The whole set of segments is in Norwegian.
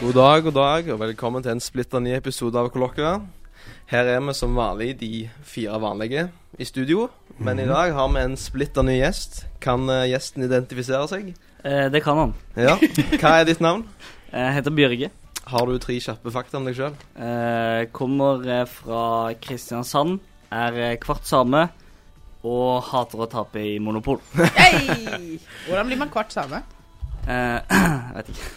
God dag, god dag, og velkommen til en splitter ny episode av Kollokvia. Her er vi som vanlig de fire vanlige i studio, men Mhm. i dag har vi en splitter ny gjest. Kan eh, gjesten identifisere seg? Eh, det kan han. Eh, Ja. Hva er ditt navn? Jeg heter Bjørge. Har du tre kjappe fakta om deg sjøl? Eh, kommer eh, fra Kristiansand, er eh, kvart same og hater å tape i Monopol. Hei! Hvordan blir man kvart same? Eh, jeg vet ikke.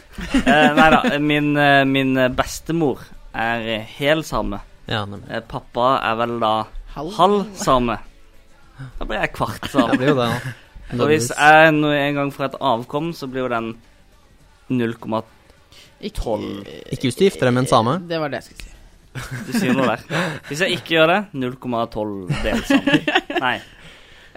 Eh, nei da. Min, eh, min bestemor er eh, hel same. Ja, nemlig. Eh, pappa er vel da halv same. Da blir jeg kvart Det same. blir jo det, da. Og hvis jeg nå en gang får et avkom, så blir jo den 0,12 Ikke, Ikke hvis du gifter deg med en same. Det var det jeg skulle si. Du sier noe der. Hvis jeg ikke gjør det, 0,12 delt same. Nei.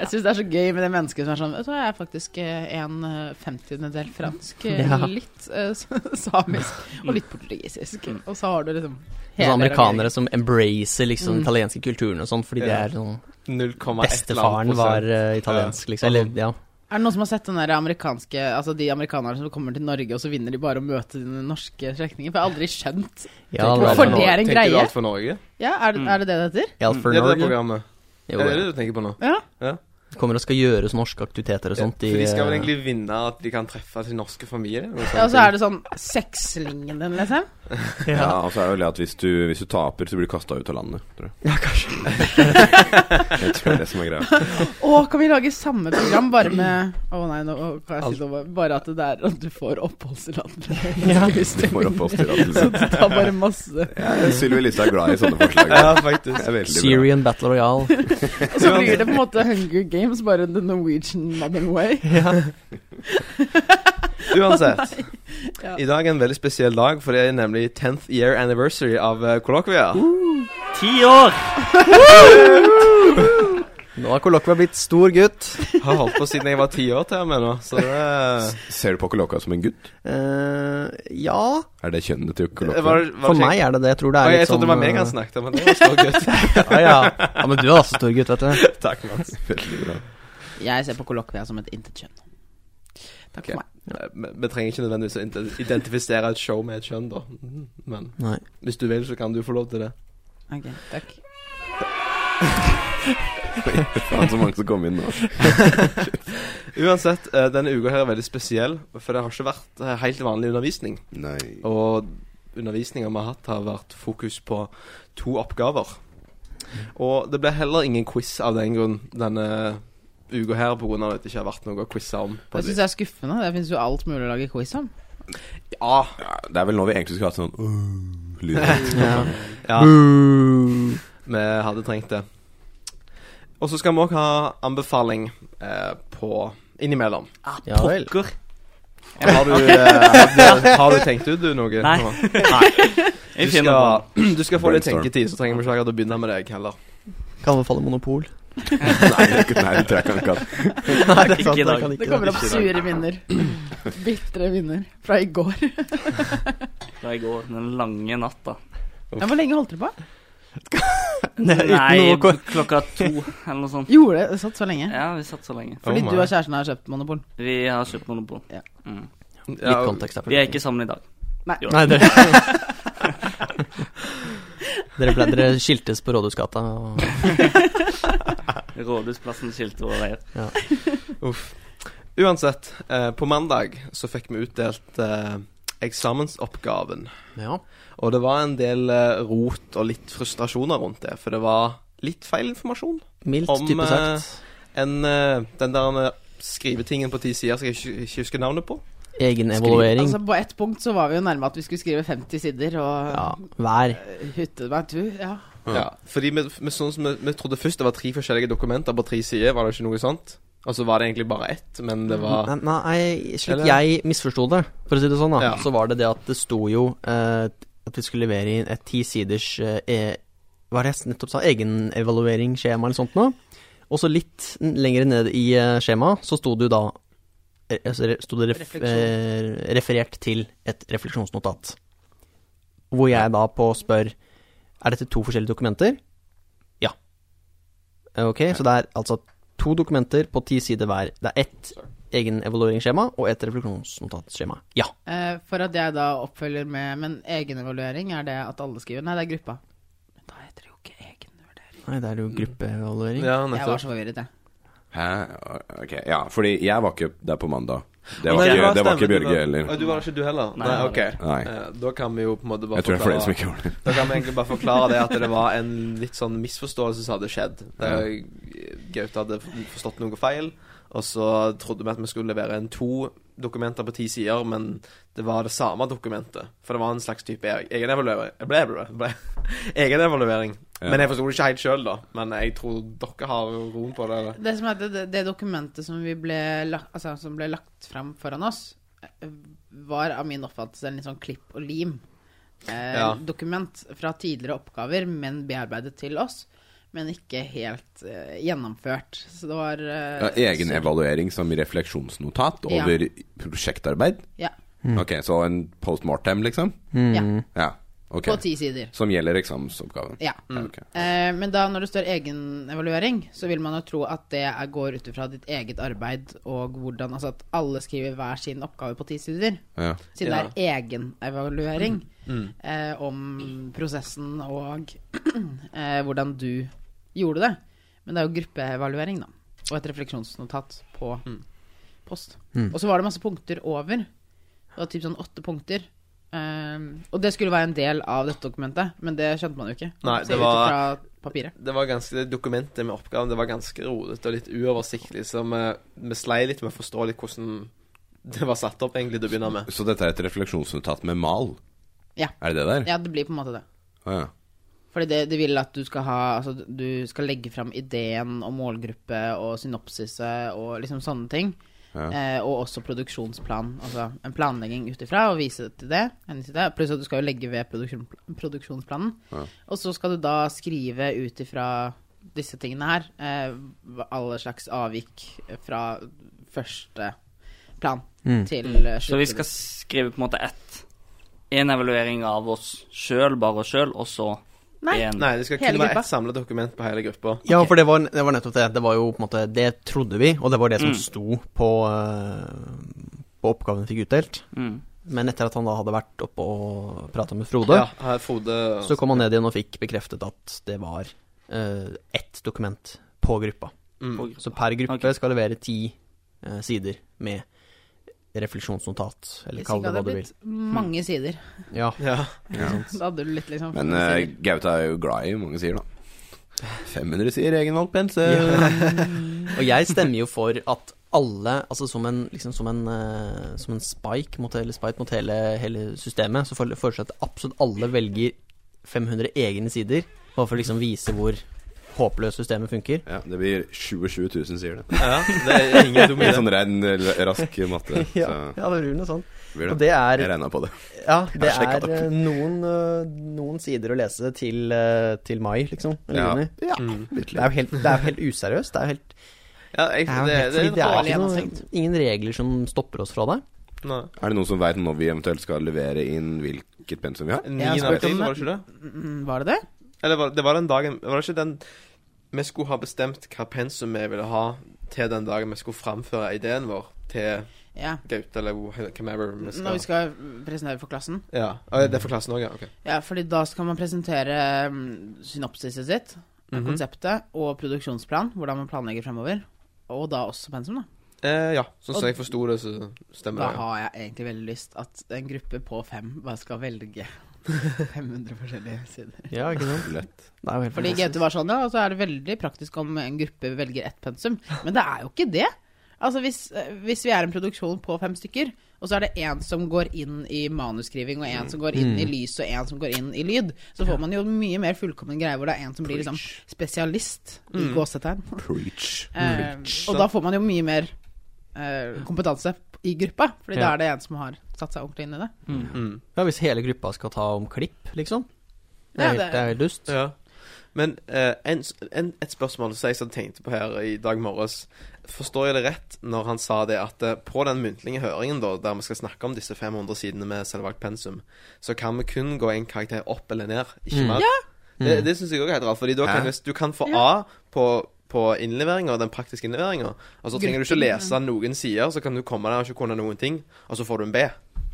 Jeg syns det er så gøy med det mennesket som er sånn Vet du hva, jeg er faktisk eh, en eh, femtiendedel fransk, eh, Ja. litt eh, s- samisk og litt portugisisk. Og så har du liksom Sånne hele Mm. amerikanere som embracer liksom Mm. den italienske kulturen og sånn, fordi de Ja. er sånn 0,1 Bestefaren var eh, italiensk, liksom. Eller, ja. Er det noen som har sett den der amerikanske Altså de amerikanerne som kommer til Norge, og så vinner de bare å møte dine norske slektninger? For jeg har aldri skjønt Ja, Hvorfor det var- det er en Tenker du greie? alt for Norge? Ja, er det Mm. er det, det det heter? Ja, Mm. for Ja, det er Norge. programmet. Jo, Er det ja. det du tenker på nå? Ja. Kommer og skal gjøre sånne norske aktiviteter og sånt. For de skal vel eh, egentlig vinne at de kan treffe sin norske familie? ja og så er det sånn sexlingen din, liksom. Ja, og så er det vel det at hvis du, hvis du taper, så blir du kasta ut av landet, tror jeg. Ja, kanskje. Jeg tror det er det som er greia. Å, kan vi lage samme program bare med Å nei, nå kan jeg si noe. Bare at det er at du får oppholdstillatelse. Ja. Hvis Du får Så oppholdstillatelse. du tar bare masse Ja, Sylvi Listhaug er glad i sånne forslag. Ja, faktisk. Det er veldig bra. Syrian Battle Royale. Og så blir det på en måte Hunger Games, bare the Norwegian Modern Way. Uansett. Ja. I dag er en veldig spesiell dag, for det er nemlig 10th year anniversary av eh, Kollokvia. Ti år! Nå har Kolokva blitt stor gutt. Har holdt på siden jeg var ti år til og med nå, så det Ser du på Koloka som en gutt? Eh, ja Er det kjønnet til var, Koloka? For meg er det det. Jeg tror det Oi, er Jeg litt trodde det var meg han eh, snakket om, men det var stor gutt. ja, ja. ja, men du er også stor gutt, vet du. Takk, Mats. Veldig bra. Jeg ser på kollokvia som et intetkjønn. Takk Ok. for meg. Eh, men- Vi trenger ikke nødvendigvis å ident- identifisere et show med et kjønn, da. Mm, Men Nei. hvis du vil, så kan du få lov til det. Ok, takk. Faen, så mange som kom inn nå. Uansett, eh, denne uka her er veldig spesiell, for det har ikke vært eh, helt vanlig undervisning. Nei. Og undervisninga vi har hatt, har vært fokus på to oppgaver. Og det ble heller ingen quiz av den grunn denne uka her, på grunn av at det ikke har vært noe å quizze om. På Det syns jeg er skuffende. Det fins jo alt mulig å lage quiz om. ja, Ja, det er vel nå vi egentlig skulle hatt sånn «Åh», lyd. Ja. ja, Boo. vi hadde trengt det. Og så skal vi òg ha anbefaling eh, på innimellom. Ah, Ja vel. pokker. Har du, eh, har du, har du tenkt ut du noe? Nei. nå? Du Jeg finner skal, du skal få litt Brainstorm. tenketid, så trenger vi ikke akkurat å begynne med deg heller. Kan anbefale Monopol. Nei, nei, det tror jeg ikke han kan. Nei, det Ikke er sant. i dag. jeg kan Det ikke kommer opp sure minner. Bitre minner fra i går. på den. Da jeg går den lange natta. Ja, hvor lenge holdt dere på? Nei, uten Nei, noe ko- klokka to eller noe sånt. Gjorde det? det? Satt så lenge? Ja, vi satt så lenge. Fordi Oh my. du og kjæresten har kjøpt Monopol? Vi har kjøpt Monopol. Ja. Mm. Litt kontekst her. Vi er ikke sammen i dag. Nei, dere dere, ble, dere skiltes på Rådhusgata. Og, Rådhusplassen skilte våre veier. Uff. Uansett, eh, på mandag så fikk vi utdelt eh, eksamensoppgaven. ja. Og det var en del eh, rot og litt frustrasjoner rundt det, for det var litt feil informasjon. Mildt Om, type sagt. En, eh, den der eh, skrivetingen på ti sider som jeg ikke, ikke husker navnet på. Egenevaluering. Altså, på ett punkt så var vi jo nærme at vi skulle skrive 50 sider, og eh, Ja, hver. Hytte meg tu, ja. Ja. Ja, fordi vi, vi, sånn som vi, vi trodde først det var tre forskjellige dokumenter på tre sider, var det ikke noe sånt? Og så var det egentlig bare ett, men det var Nei, nei, slik Eller- jeg misforsto det, for å si det sånn, da, Ja. så var det det at det sto jo eh, at vi skulle levere inn et ti siders eh, e- Hva var det jeg nettopp sa? Egenevalueringsskjema eller sånt noe. Og så litt n- lenger ned i eh, skjemaet så sto det jo da eh, altså, re- sto det ref, eh, referert til et refleksjonsnotat. Hvor jeg da på spør Er dette to forskjellige dokumenter? Ja. Eh, Ok, så det er altså to dokumenter på ti sider hver. Det er ett egenevalueringsskjema og et refleksjonsnotatskjema. Ja. Eh, for at jeg da oppfølger med Men egenevaluering, er det at alle skriver? Nei, det er gruppa. Men da heter det jo ikke egenvurdering. Nei, det er jo gruppeevaluering. Ja, Jeg var nettopp. så forvirret, jeg. Hæ? Ok, ja, fordi jeg var ikke der på mandag. Det Å, var, nei, ikke, det var stemmer, ikke du Bjørge heller. Å, Du var ikke du heller? Nei, Nei, jeg var ok. Nei. Eh, Da kan vi jo på en måte bare Jeg tror det er flere forklare som ikke var det. Da kan vi egentlig bare forklare det at det var en litt sånn misforståelse som hadde skjedd. Der Gaute hadde forstått noe feil, og så trodde vi at vi skulle levere en to dokumenter på ti sider, men det var det samme dokumentet. For det var en slags type e- egenevaluering. Ble, ble, ble. Egenevaluering. Ja. Men jeg forsto det ikke helt sjøl, da. Men jeg tror dere har roen på det. Eller? Det som er det, det, det dokumentet som, vi ble lagt, altså, som ble lagt fram foran oss, eh, var av min oppfattelse en litt sånn klipp og lim. Eh, Ja. Dokument fra tidligere oppgaver, men bearbeidet til oss. Men ikke helt eh, gjennomført. Så det var eh, Ja, egen så- evaluering som prosjektnotat Ja. over prosjektarbeid? Ja. Ok, så en postmortem, liksom? Mm. ja. Ja, ok. På ti sider. Som gjelder eksamensoppgaven? Ja. Ja, ok. Eh, men da når det står egenevaluering, så vil man jo tro at det er, går ut ifra ditt eget arbeid og hvordan Altså at alle skriver hver sin oppgave på ti sider. Ja. Siden Ja. Mm. det er egenevaluering eh, om prosessen og eh, hvordan du gjorde det. Men det er jo gruppeevaluering, da. Og et refleksjonsnotat på Mm. post. Og så var det masse punkter over. Det var typ sånn åtte punkter. Ehm, og det skulle være en del av dette dokumentet, men det skjønte man jo ikke. Nei, det Så ut var- ifra papiret. Det var ganske, det dokumentet med oppgaven det var ganske rodete og litt uoversiktlig, så vi, vi slei litt med å forstå litt hvordan det var satt opp, egentlig, til å begynne med. Så dette er et refleksjonsnotat med mal? Ja. Er det det der? Ja, det blir på en måte det. Å, ja. Fordi det, det vil at du skal ha Altså, du skal legge fram ideen og målgruppe og synopsiset og liksom sånne ting. Ja. Eh, og også produksjonsplan. Altså en planlegging ut ifra og vise det til det. henvise til det. Pluss at du skal jo legge ved produksjon, produksjonsplanen. Ja. Og så skal du da skrive ut ifra disse tingene her eh, hva- alle slags avvik fra første plan Mm. til eh, Så vi skal sluttprodukt. skrive på en måte ett. En evaluering av oss sjøl, bare oss sjøl, og så Nei. en Nei, det skal Hele kun være gruppa? ett samla dokument på hele gruppa. Ja, for det var, det var nettopp det. Det var jo på en måte Det trodde vi, og det var det som Mm. sto på, eh, på oppgaven vi fikk utdelt. Mm. Men etter at han da hadde vært oppe og prata med Frode, Ja, her er Frode så kom han ned igjen og fikk bekreftet at det var eh, ett dokument på gruppa. mm. Så per gruppe Ok. skal levere ti eh, sider med refleksjonsnotat, eller Hvis ikke kall det hadde hva du det vil. blitt mange sider. Ja, Ja. ja. Da hadde du litt liksom Men sider. eh, Gaute er jo glad i mange sider, da. 500 sider egenvalgt pensel. Og jeg stemmer jo for at alle, altså som en, liksom som en, eh, som en spike mot hele, spike mot hele, hele systemet, så fore- foreslår jeg at absolutt alle velger 500 egne sider, bare for å liksom vise hvor håpløst systemet funker. Ja, det blir 27 000 sider, det. ja. Det er ingen dum Med idé. sånn rein, eh, rask matte. Så det blir noe sånn. blir Og det. det er, Jeg regna på det. ja, det Jeg sjekket er eh, noen, eh, noen sider å lese til, eh, til mai, liksom. Eller Ja. juni. Ja. Mm. Det er jo helt, det er jo helt useriøst. Det er jo helt, Ja, jeg, det er, jo det, helt det fordi det er dårlig ikke noe, gjennomtenkt. ingen regler som stopper oss fra det. Nei. Er det noen som veit når vi eventuelt skal levere inn hvilket pensum vi har? 9. Jeg har spurt april, om var det det. ikke det? Mm, Var det det? Eller var, det var den dagen Var det ikke den Vi skulle ha bestemt hva pensum vi ville ha til den dagen vi skulle framføre ideen vår til Ja. Gaute eller hvor- whomever vi Når skal vi skal presentere for klassen. Ja. Å, Det er for klassen òg, ja. Ok. Ja, fordi da skal man presentere mm, synopsiset sitt, Mhm. konseptet, og produksjonsplan, hvordan man planlegger fremover. Og da også pensum, da. Eh, ja. Sånn Og- som jeg forsto det, så stemmer Da det. Ja. har jeg egentlig veldig lyst at en gruppe på fem bare skal velge 500 forskjellige sider. Ja, ikke sant? Lett. Det er jo helt Fordi fantastisk. GT var sånn, ja, og så er det veldig praktisk om en gruppe velger ett pensum. Men det er jo ikke det. Altså hvis, eh, hvis vi er en produksjon på fem stykker, og så er det én som går inn i manusskriving, og én som går inn i lys, og én som går inn i lyd, så får man jo mye mer fullkommen greie hvor det er en som blir liksom spesialist i gåsetegn. Preach. Eh, og da får man jo mye mer eh, kompetanse i gruppa, Fordi da Ja. er det en som har satt seg ordentlig inn i det. Mm. Ja, hvis hele gruppa skal ta om klipp, liksom. Det er, Ja, helt- det- det er helt dust. Ja. Men eh, en, en, et spørsmål som jeg som tenkte på her i dag morges. Forstår jeg det rett når han sa det at eh, på den muntlige høringen, da, der vi skal snakke om disse 500 sidene med selvvalgt pensum, så kan vi kun gå en karakter opp eller ned, ikke mer? Det, det syns jeg òg er helt rart, Fordi da kan Hæ? hvis du kan få Ja. A på på innleveringa, den praktiske innleveringa. Og så trenger du ikke lese noen sider, så kan du komme der og ikke kunne noen ting, og så får du en B.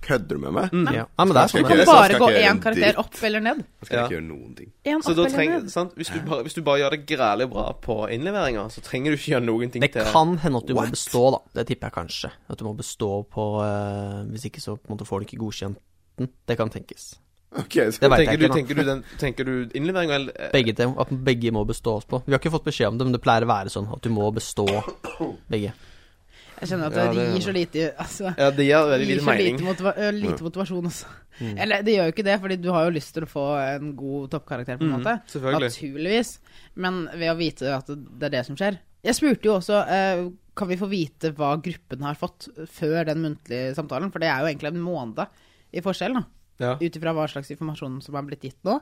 Kødder du med meg? Ja. Nei, men det er Skal sånn det. ikke- Kan så bare skal gå ikke gjøre én en karakter dritt. opp eller ned. Jeg skal Ja. ikke gjøre noen ting. En Så opp da eller trenger, ned. sant? Hvis, du bare, hvis du bare gjør det grælig bra på innleveringa, så trenger du ikke gjøre noen ting Det til kan hende at du What? må bestå, da. Det tipper jeg kanskje. At du må bestå på eh, Hvis ikke så på en måte får du ikke godkjent den. Det kan tenkes. Ok, så Det veit Tenker jeg du, ikke, da. tenker du, den- tenker du innleveringa eller eh, Begge til, at begge må bestås på. Vi har ikke fått beskjed om det, men det pleier å være sånn at du må bestå begge. Jeg kjenner Ja, at det det gir gjør så lite altså, Ja, det gir det veldig gir lite så mening. lite, motiva ø, lite motivasjon, altså. Eller det gjør jo ikke det, Fordi du har jo lyst til å få en god toppkarakter, på en måte. Selvfølgelig. Naturligvis. Men ved å vite at det er det som skjer. Jeg spurte jo også eh, kan vi få vite hva gruppen har fått før den muntlige samtalen, for det er jo egentlig en måned i forskjell, da. Ja. Ut ifra hva slags informasjon som er blitt gitt nå,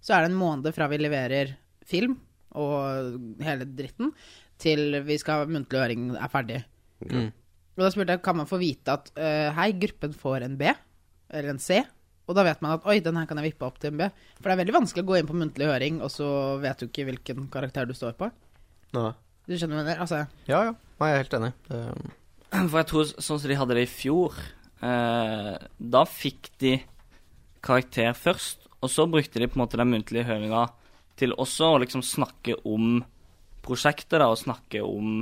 så er det en måned fra vi leverer film og hele dritten, til vi skal ha muntlig høring er ferdig. Mm. Og da spurte jeg kan man få vite at eh, hei, gruppen får en B eller en C. Og da vet man at oi, den her kan jeg vippe opp til en B. For det er veldig vanskelig å gå inn på muntlig høring, og så vet du ikke hvilken karakter du står på. Nei. Du skjønner hva jeg mener? Altså, Ja, ja. Nei, jeg er helt enig. Det, um, For jeg tror sånn som de hadde det i fjor eh, Da fikk de karakter først, og så brukte de på en måte den muntlige høringa til også å liksom snakke om prosjektet, da, og snakke om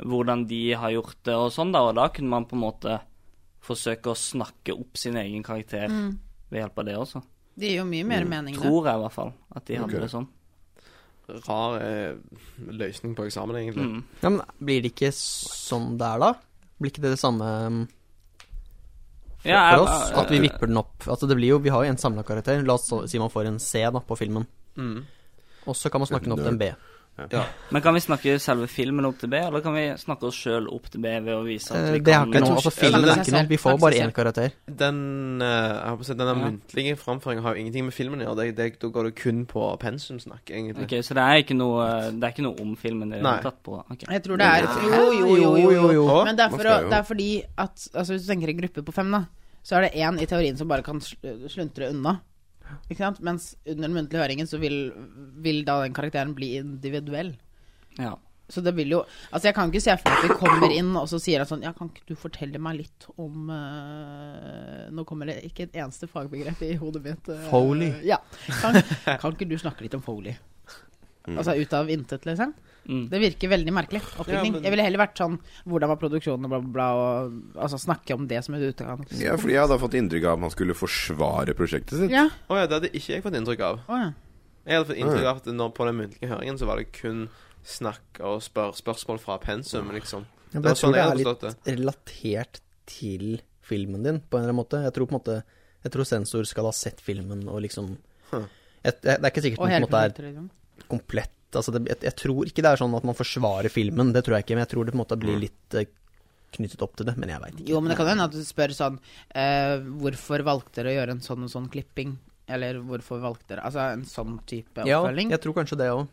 hvordan de har gjort det og sånn, da, og da kunne man på en måte forsøke å snakke opp sin egen karakter ved hjelp av det også. det gir jo mye mer mening, da. Tror jeg i hvert fall at de hadde Ok. det sånn. Rar eh, løsning på eksamen, egentlig. Mm. ja, men blir det ikke sånn det er, da? Blir ikke det det samme um, for, Ja, jeg- for oss? At vi vipper den opp? Altså, det blir jo, vi har jo en samla karakter. La oss så- si man får en C da, på filmen. Mm. Og så kan man snakke den opp til en B. Men kan vi snakke selve filmen opp til B, eller kan vi snakke oss sjøl opp til B ved å vise at Eh, vi Det har kan ikke noe, altså Filmen Eller er det- ikke noe. Vi får bare én karakter. Den, eh, jeg håper å si, denne Ja. muntlige framføringa har jo ingenting med filmen å gjøre. Det, det, da går det kun på pensumsnakk, egentlig. Ok, Så det er ikke noe, det er ikke noe om filmen det Nei. er tatt på? Ok. Jeg tror det er Jo, jo, jo. jo, jo. Å, Men det er, for å, man skal jo- det er fordi at altså, Hvis du tenker en gruppe på fem, da, så er det én i teorien som bare kan sl- sluntre unna. Ikke sant? Mens under den muntlige høringen så vil, vil da den karakteren bli individuell. Ja. Så det vil jo Altså, jeg kan ikke se for meg at vi kommer inn og så sier han sånn Ja, kan ikke du fortelle meg litt om eh, Nå kommer det ikke et eneste fagbegrep i hodet mitt. eh, Foley. Ja. Kan, kan ikke du snakke litt om Foley? Altså ut av intet, liksom? Mm. Det virker veldig merkelig. Oppbygging. Ja, men- Jeg ville heller vært sånn Hvordan var produksjonen, og bla, bla, bla. Og, altså snakke om det som et utgangspunkt. Ja, fordi jeg hadde fått inntrykk av at man skulle forsvare prosjektet sitt. Ja. ja, det hadde ikke jeg fått inntrykk av. Å, ja. Jeg hadde fått inntrykk av at når, på den muntlige høringen så var det kun snakk og spør, spørsmål fra pensum, liksom. Det Ja, men var jeg tror sånn det jeg er hadde litt forstått det. relatert til filmen din, på en eller annen måte. Jeg tror på en måte Jeg tror sensor skal ha sett filmen og liksom Hm. jeg, jeg, Det er ikke sikkert og den på en hele måte er produktet, liksom. komplett. Altså det, jeg, jeg tror ikke det er sånn at man forsvarer filmen, det tror jeg ikke. Men jeg tror det på en måte blir litt eh, knyttet opp til det. Men jeg veit ikke. Jo, men det kan jo hende at du spør sånn eh, Hvorfor valgte dere å gjøre en sånn og sånn klipping? Eller hvorfor valgte dere Altså en sånn type Ja, oppfølging. jeg tror kanskje det òg.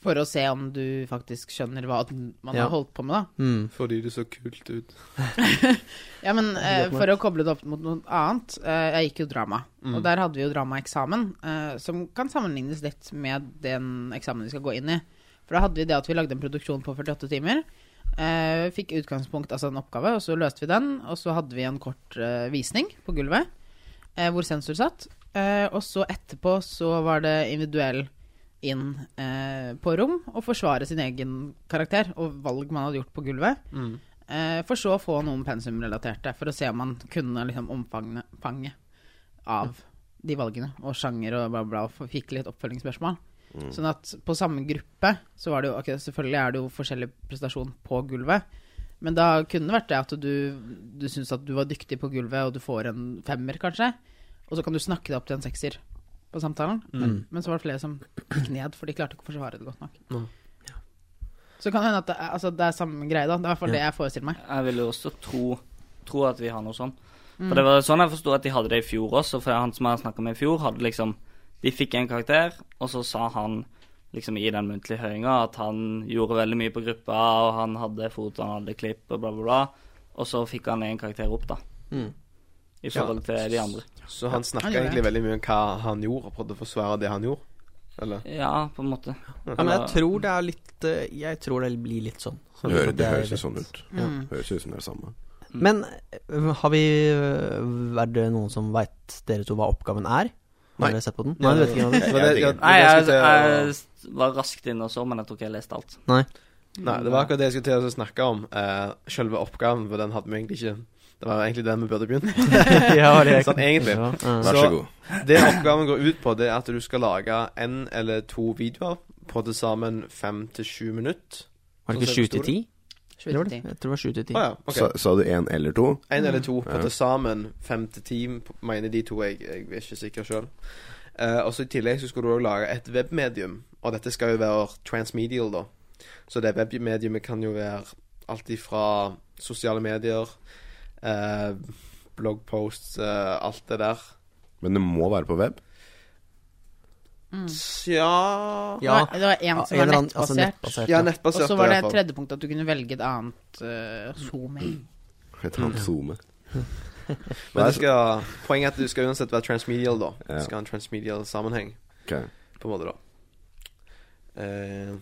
For å se om du faktisk skjønner hva den- man Ja. har holdt på med, da. Mm. Fordi det så kult ut. Ja, men eh, Godt nok. Mm. for å koble det opp mot noe annet eh, Jeg gikk jo drama, og der hadde vi jo dramaeksamen, eh, som kan sammenlignes litt med den eksamen vi skal gå inn i. For da hadde vi det at vi lagde en produksjon på 48 timer. Eh, fikk utgangspunkt, altså en oppgave, og så løste vi den. Og så hadde vi en kort eh, visning på gulvet, eh, hvor sensor satt. Eh, og så etterpå så var det individuell inn eh, på rom og forsvare sin egen karakter og valg man hadde gjort på gulvet. Eh, for så å få noen pensumrelaterte, for å se om man kunne liksom omfanget fanget av de valgene, og sjanger og bla, bla, og f- fikk litt oppfølgingsspørsmål. Sånn at på samme gruppe så var det jo ok, Selvfølgelig er det jo forskjellig prestasjon på gulvet, men da kunne det vært det at du, du syns at du var dyktig på gulvet, og du får en femmer, kanskje, og så kan du snakke deg opp til en sekser på samtalen, men, Mm. men så var det flere som gikk ned, for de klarte ikke å forsvare det godt nok. Mm. Så kan det hende at det er, altså, det er samme greie, da. Det er i hvert fall det jeg forestiller meg. Jeg vil jo også tro, tro at vi har noe sånn. Mm. For det var sånn jeg forsto at de hadde det i fjor også, for han som jeg snakka med i fjor, hadde liksom De fikk en karakter, og så sa han liksom i den muntlige høringa at han gjorde veldig mye på gruppa, og han hadde foto, han hadde klipp, og bla, bla, bla. Og så fikk han en karakter opp, da. Mm. I forhold til de andre. Så han Han snakka gjorde egentlig veldig mye om hva han gjorde, og prøvde å forsvare det han gjorde. Eller? Ja, på en måte. Ja, men jeg tror det er litt eh, Jeg tror det blir litt sånn. Det, hører, det er høres jo litt- sånn ut. Ja. Mm. Høres jo ut som det er det samme. Men eh, har vi eh, Er det noen som veit dere to hva oppgaven er? Nei. Har dere sett på den? Nei, du vet Det ikke. Anders. jeg var det- digger ja, det. det var Nei, det jeg, skulle til å- jeg var raskt inne og så, men jeg tror ikke jeg leste alt. Nei, det var akkurat det jeg skulle til å snakke om. Eh, selve oppgaven, for den hadde vi egentlig ikke. Det var jo egentlig den vi burde begynt. ja, det er Sånn egentlig. Ja, eh. Vær Så- så god. Det oppgaven går ut på, det er at du skal lage en eller to videoer på til sammen fem til sju minutter. Var det ikke 7 til 10? Sju Det til var det. ti. Jeg tror det var 7 til 10. Å ja, Sa, ok. sa du én eller to? En Mm. eller to på Ja. til sammen fem til ti, mener de to. Jeg, jeg er ikke sikker sjøl. og så I tillegg så skal du også lage et webmedium, og dette skal jo være transmedial, da. Så det webmediumet kan jo være alt ifra sosiale medier, eh, bloggposts, eh, alt det der. Men det må være på web? Mm. Tja Ja. Nei, det var en som en var eller annen- altså nettbasert. nettbasert, Ja, ja. og nettbasert. så var i det hvert et fall. tredje punkt at du kunne velge et annet uh, zoom-in. Et annet SoMe. Men det skal, poenget er at du skal uansett være transmedial, da. Ja. Du skal ha en transmedial sammenheng, Ok. på en måte, da. Eh,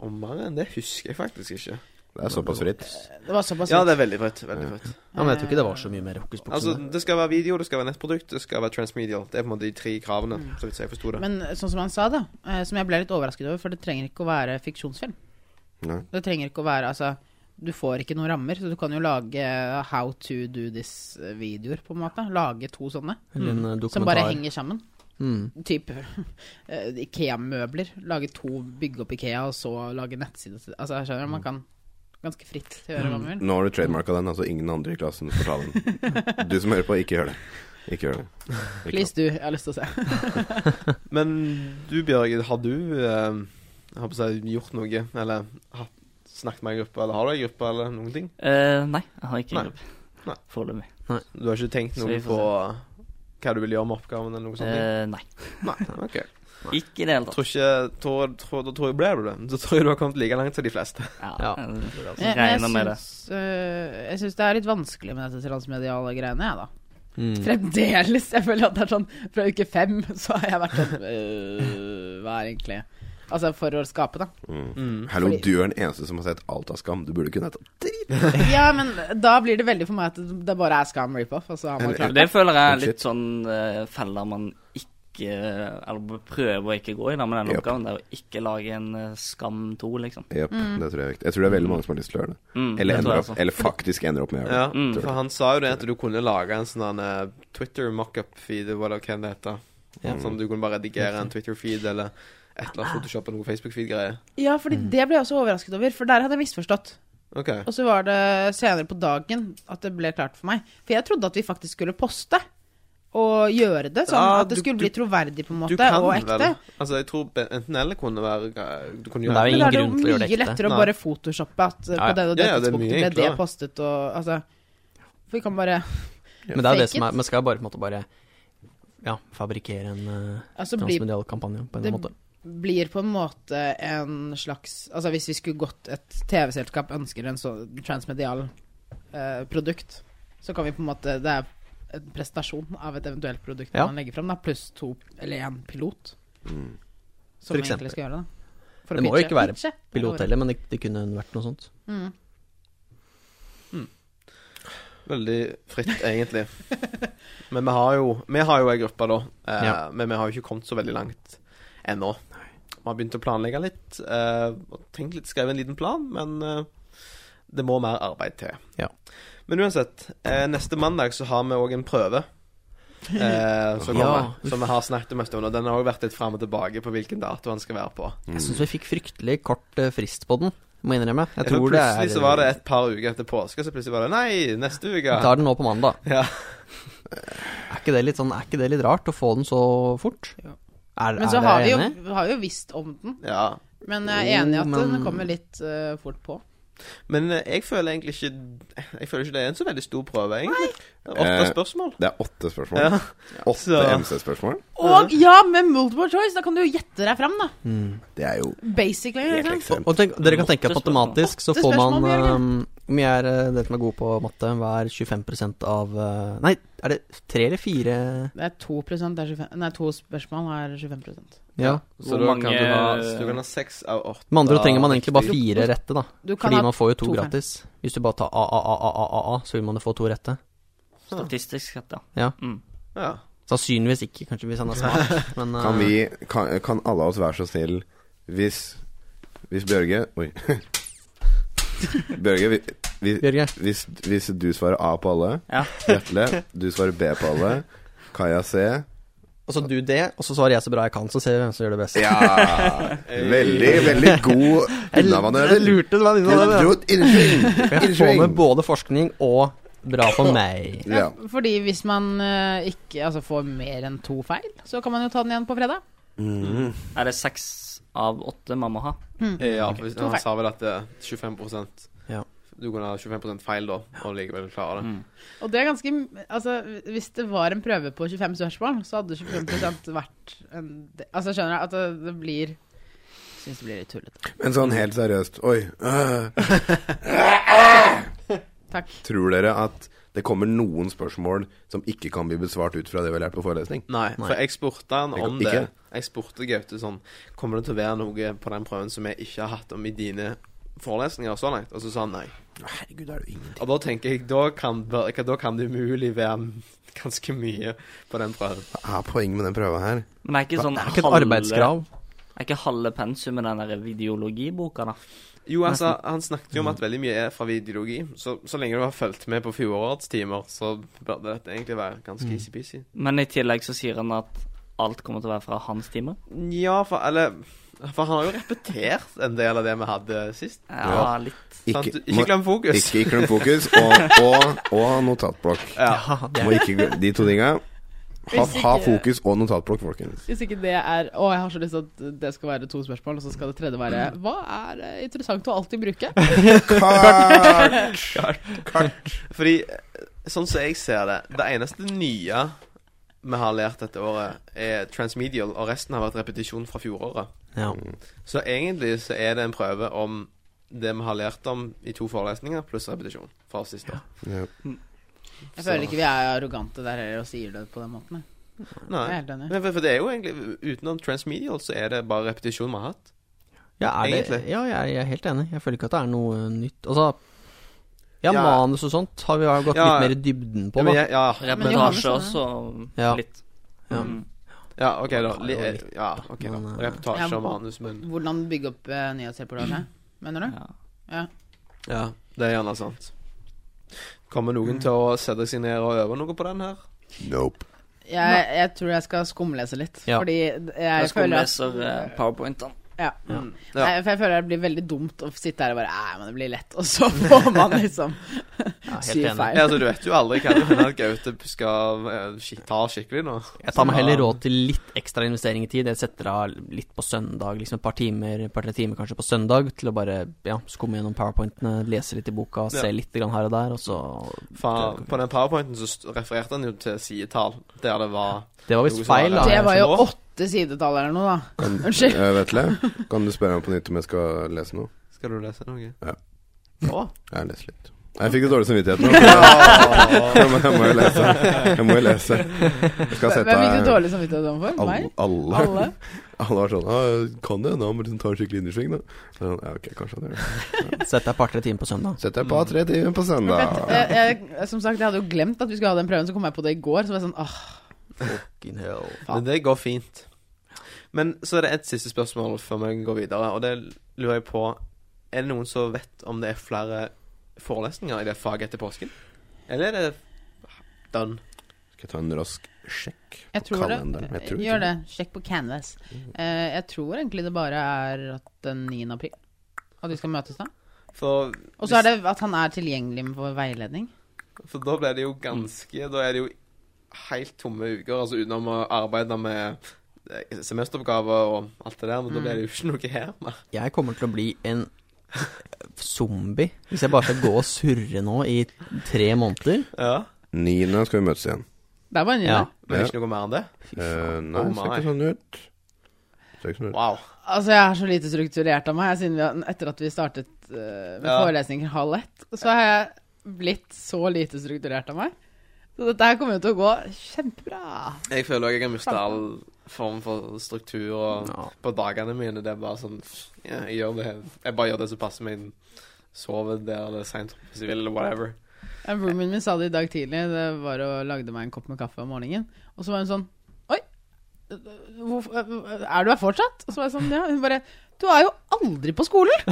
og mer enn det husker jeg faktisk ikke. Det er såpass fritt. Det var såpass Ja, det er veldig fritt. Veldig fritt. Ja, men jeg tror ikke det var så mye mer hokus pokus. Altså, enn det. det skal være video, det skal være nettprodukt, det skal være transmedial. Det er på en måte de tre kravene, så vidt jeg forsto det. Men sånn som han sa, da, eh, som jeg ble litt overrasket over, for det trenger ikke å være fiksjonsfilm. Nei. Det trenger ikke å være Altså, du får ikke noen rammer, så du kan jo lage eh, how to do this-videoer, på en måte. Lage to sånne, Eller en eh, dokumentar. som bare henger sammen. Mm. Typ eh, Ikea-møbler. Lage to, bygge opp Ikea, og så lage nettside til Altså, jeg skjønner du, man kan ganske fritt til å gjøre hva man vil. Nå har du trademarka den, altså ingen andre i klassen får ta den. Du som hører på, ikke gjør det. Ikke gjør det. Ikke Please, du. Jeg har lyst til å se. Men du, Bjørg, har du eh, jeg håper å si, gjort noe, eller hatt, snakket med ei gruppe, eller har du ei gruppe, eller noen ting? Eh, nei, jeg har ikke Nei. Nei. gruppe. Foreløpig. Du har ikke tenkt Så noe vi får på hva du vil gjøre med oppgaven, eller noe sånt? Eh, nei. Sånn Nei, ok. Ikke i det hele tatt. Tror ikke, tror, tror, da tror jeg ble det. Da tror jeg du har kommet like langt som de fleste. Ja. eh, Jeg, jeg, Regner med det. syns, øh, jeg syns det er litt vanskelig med dette transmediale greiene, jeg, da. Mm. Fremdeles. Jeg føler at det er sånn fra uke fem så har jeg vært sånn øh, Hva er egentlig Altså for å skape, da. Mm. Hallo, du er den eneste som har sett alt av Skam. Du burde kunne hett Ja, men da blir det veldig for meg at det bare er scam rip-off. Og så har man Eller- klart Det føler jeg er Bullshit. litt sånn uh, feller man ikke Eller bør prøve å ikke gå i, da, med den Yep. oppgaven. Det er å ikke lage en eh, Skam 2, liksom. Jepp, det tror jeg er viktig. Jeg tror det er veldig mange som har lyst til å gjøre det. Mm, det Eller, tror jeg ender opp, også. eller faktisk ender opp med å gjøre det. Ja, Mm. eh, for han sa jo det at du kunne lage en sånn eh, Twitter mockup-feed, eller hva det heter. Ja. Sånn du kunne bare redigere en Twitter-feed, eller et eller annet Photoshop eller noe Facebook-feed-greier. Ja, fordi Mm. det ble jeg også overrasket over, for der hadde jeg misforstått. Ok. Og så var det senere på dagen at det ble klart for meg. For jeg trodde at vi faktisk skulle poste. Og gjøre det sånn Ja, at du- det skulle du- bli troverdig, på en Du måte, kan og vel ekte. Altså, jeg tror be- enten eller kunne være eh, Du kunne gjøre Men Men det er jo da er det ingen grunn til å jo gjøre det mye ekte. lettere å Nei. bare photoshoppe at uh, Ja, på ja. det og det Ja, ja, det er mye tidspunktet ble det enklere. postet og altså For vi kan bare Men det er jo det Fake som it. er Man skal bare på en måte bare ja, fabrikkere en eh, Altså bli, transmedial kampanje på en det eller annen måte. blir på en måte en slags Altså hvis vi skulle gått et TV-selskap ønsker en sånn transmedial eh, produkt, så kan vi på en måte Det er en prestasjon av et eventuelt produkt Ja. man legger fram, da, pluss to eller én pilot. Mm. Som For vi eksempel. egentlig skal gjøre det. da. For å Det må jo pitche- ikke være pitche. Pilot heller, men det, det kunne vært noe sånt. Mm. veldig fritt, egentlig. Men vi har jo Vi har jo ei gruppe, da. Eh, Ja. Men vi har jo ikke kommet så veldig langt ennå. Vi har begynt å planlegge litt. Eh, og tenkt litt, skrevet en liten plan, men eh, det må mer arbeid til. Ja. Men uansett, eh, neste mandag så har vi òg en prøve. Eh, som, Ja. kommer, som vi har snakket om en stund. Og den har òg vært litt fram og tilbake på hvilken dato den skal være på. Jeg syns vi fikk fryktelig kort eh, frist på den, må jeg innrømme. Jeg For tror det er plutselig så var det et par uker etter påske, så plutselig var det Nei, neste Vi uke. tar den nå på mandag. Ja. Er ikke det litt sånn Er ikke det litt rart å få den så fort? Ja. Er, Men er så dere har vi, enige? jo, har jo visst om den. ja. Men jeg Jo, er enig i at men- den kommer litt eh, fort på. Men eh, jeg føler egentlig ikke Jeg føler ikke det er en så veldig stor prøve, egentlig. Det er Åtte Eh, spørsmål. Det er åtte spørsmål. Ja. Åtte Så- MC-spørsmål. Og ja, med multiple choice! Da kan du jo gjette deg fram, da. Det er jo Basically. helt Liksom. Og, ekstremt. og tenk, dere kan tenke at Åtte spørsmål. matematisk så Åtte får man spørsmål, Jørgen. eh, Hvor mye er eh, den som er god på matte? Hva er 25 av eh, Nei, er det tre eller fire? Det er 2 er 25, Nei, to spørsmål er 25 Ja. Så Hvor da mange- kan du ha Så du kan ha seks av åtte. Med andre ord trenger man egentlig bare riktige. fire rette, da. Du kan Fordi ha man får jo to to feil. gratis. Hvis du bare tar AAAAA, så vil man jo få to rette. Statistisk sett, ja. Ja. Mm. Ja. Sannsynligvis ikke, kanskje, hvis han er smart, men eh, Kan vi Kan, kan alle av oss være så snill hvis Hvis Bjørge Oi. Bjørge, vi, vi, Bjørge, hvis, hvis du svarer A på alle, Ja. Vetle, du svarer B på alle, Kaja C altså du det, og så svarer jeg så bra jeg kan, så ser vi hvem som gjør det best. Ja! Veldig, veldig god Jeg unnamanøver. lurte det var Du dro et innsving. Jeg får med både forskning og bra for meg. Ja. Ja, fordi hvis man eh, ikke altså, får mer enn to feil, så kan man jo ta den igjen på fredag. Er det seks av åtte man må ha? Hmm. Ja, for hvis- To han feil. sa vel at det er 25 Ja. Du kunne ha 25 feil da, og likevel klare det. Mm. Og det er ganske Altså, hvis det var en prøve på 25 spørsmål, så hadde 25 vært en del Altså, skjønner jeg at det, det blir Syns det blir litt tullete. Men sånn helt seriøst Oi. øh, Takk. Tror dere at det kommer noen spørsmål som ikke kan bli besvart ut fra det vi har lært på forelesning? Nei, for Nei. jeg spurte han Jeg- om ikke? det. Jeg spurte Gaute sånn Kommer det til å være noe på den prøven som jeg ikke har hatt om i dine forelesninger så langt? Og så sa han nei. Herregud, er det jo ingenting Og da tenker jeg da kan, det- da kan det umulig være ganske mye på den prøven. Hva er poenget med den prøva her? Men det er ikke sånn Det er ikke et halve- arbeidskrav. Er ikke halve pensum i den der videologiboka, da? Jo, altså, han snakket jo om at veldig mye er fra videologi. Så, så lenge du har fulgt med på fjorårets-timer, så burde dette egentlig være ganske easy-peasy. Men i tillegg så sier han at alt kommer til å være fra hans timer. Ja, for Eller For han har jo repetert en del av det vi hadde sist. Ja, litt. Ikke, Ikke, sant? ikke glem må- fokus. ikke glem fokus, og, og, og notatblokk. Ja. Må ikke glemme de to tinga. Ha, Hvis ikke- ha fokus og notatblokk, folkens. Hvis ikke det er Å, jeg har så lyst til at det skal være to spørsmål, og så skal det tredje være Hva er eh, interessant å alltid bruke? Kart! Fordi sånn som jeg ser det, det eneste nye vi har lært dette året, er transmedial, og resten har vært repetisjon fra fjoråret. Ja. Mm. Så egentlig så er det en prøve om det vi har lært om i to forelesninger, pluss repetisjon fra sist år. Ja. Jeg føler ikke vi er arrogante der heller og sier det på den måten. jeg. Nei. Jeg er helt enig. Men for, for det er jo egentlig Utenom transmedial så er det bare repetisjon vi har hatt. Ja, er det, Egentlig. ja jeg, er, jeg er helt enig. Jeg føler ikke at det er noe nytt. Altså ja, Ja. manus og sånt har vi jo gått Ja. litt mer i dybden på, Ja, men da. jeg, ja, Men Johannes Reportasje sa det. også, Ja. litt. Ja. Mm. ja, OK, da. Li, Det var litt, ja, ok da men, eh, Reportasje Ja. og manus, men Hvordan bygge opp eh, nyhetsreportasje, mener du? Ja. Ja, det er gjerne sant. Kommer noen til å sette seg ned og øve noe på den her? Nope. Jeg, jeg tror jeg skal skumlese litt, Ja. fordi jeg, Jeg føler at skumleser eh, powerpointene. ja. Mm. Ja. Nei, for jeg føler det blir veldig dumt å sitte her og bare Nei, men det blir lett. Og så får man liksom Ja, syv helt enig. Ja, feil. altså, du vet jo aldri hva det hender at Gaute skal eh, skik- ta skikkelig nå. Jeg tar meg heller råd til litt ekstra investering i tid. Jeg setter av litt på søndag, liksom et par timer, et par-tre timer kanskje på søndag, til å bare ja, skumme gjennom powerpointene, lese litt i boka, Ja. se litt grann her og der, og så Faen, på den powerpointen så st- refererte han jo til sidetall, der det var Det var Noe visst som feil, er- da. Det jeg var jo som må. åtte sidetall eller noe, da. Kan, Unnskyld. eh, Vetle, kan du spørre meg på nytt om jeg skal lese noe? Skal du lese noe? Ja. Å? Jeg leser litt. Jeg fikk det dårlig samvittighet nå. Ja, men Jeg må jo lese. Jeg må jo lese. Jeg skal Hvem sette fikk du av dårlig samvittighet overfor? alle. Meg? Alle Alle? Alle var sånn Ja, kan det, da må du ta en skikkelig innersving, da. sånn, Ja, ok, kanskje han gjør det. Sett deg et par-tre timer på søndag. Sett deg på tre timer på søndag. Vent, jeg, jeg, som sagt, jeg hadde jo glemt at vi skulle ha den prøven, så kom jeg på det i går. Så var jeg sånn åh, Men det går fint. Men så er det et siste spørsmål før vi går videre, og det lurer jeg på Er det noen som vet om det er flere forelesninger i det faget etter påsken? Eller er det done? Skal jeg ta en rask sjekk jeg på tror det. kalenderen? Jeg tror Gjør det. Sjekk på Canvas. Eh, jeg tror egentlig det bare er at den 9. april at vi skal møtes da. For, Og så er det at han er tilgjengelig for veiledning. for da blir det jo ganske Da er det jo helt tomme uker, altså utenom å arbeide med eh, semesteroppgaver og alt det der, men da blir det jo ikke noe her mer. Jeg kommer til å bli en zombie hvis jeg bare skal gå og surre nå i tre måneder. Ja. Niende skal vi møtes igjen. Det er bare en Ja. gjeng. Men det er ikke noe mer enn det? Eh, nei, Oh det ser my. ikke sånn ut. Ser ikke sånn ut. Wow. Altså, jeg er så lite strukturert av meg jeg, siden vi har, etter at vi startet eh, med Ja. forelesninger halv ett, så har jeg blitt så lite strukturert av meg. Så dette her kommer jo til å gå kjempebra. Jeg føler også jeg har mista all form for struktur og Ja. på dagene mine. Det er bare sånn ja, jeg, gjør det, jeg bare gjør det som passer meg. Sover der det er seint hvis jeg vil, eller whatever. Ja, Roomien min sa det i dag tidlig. Det var og lagde meg en kopp med kaffe om morgenen. Og så var hun sånn Oi, hvorfor, er du her fortsatt? Og så var jeg sånn, ja. Hun bare Du er jo aldri på skolen!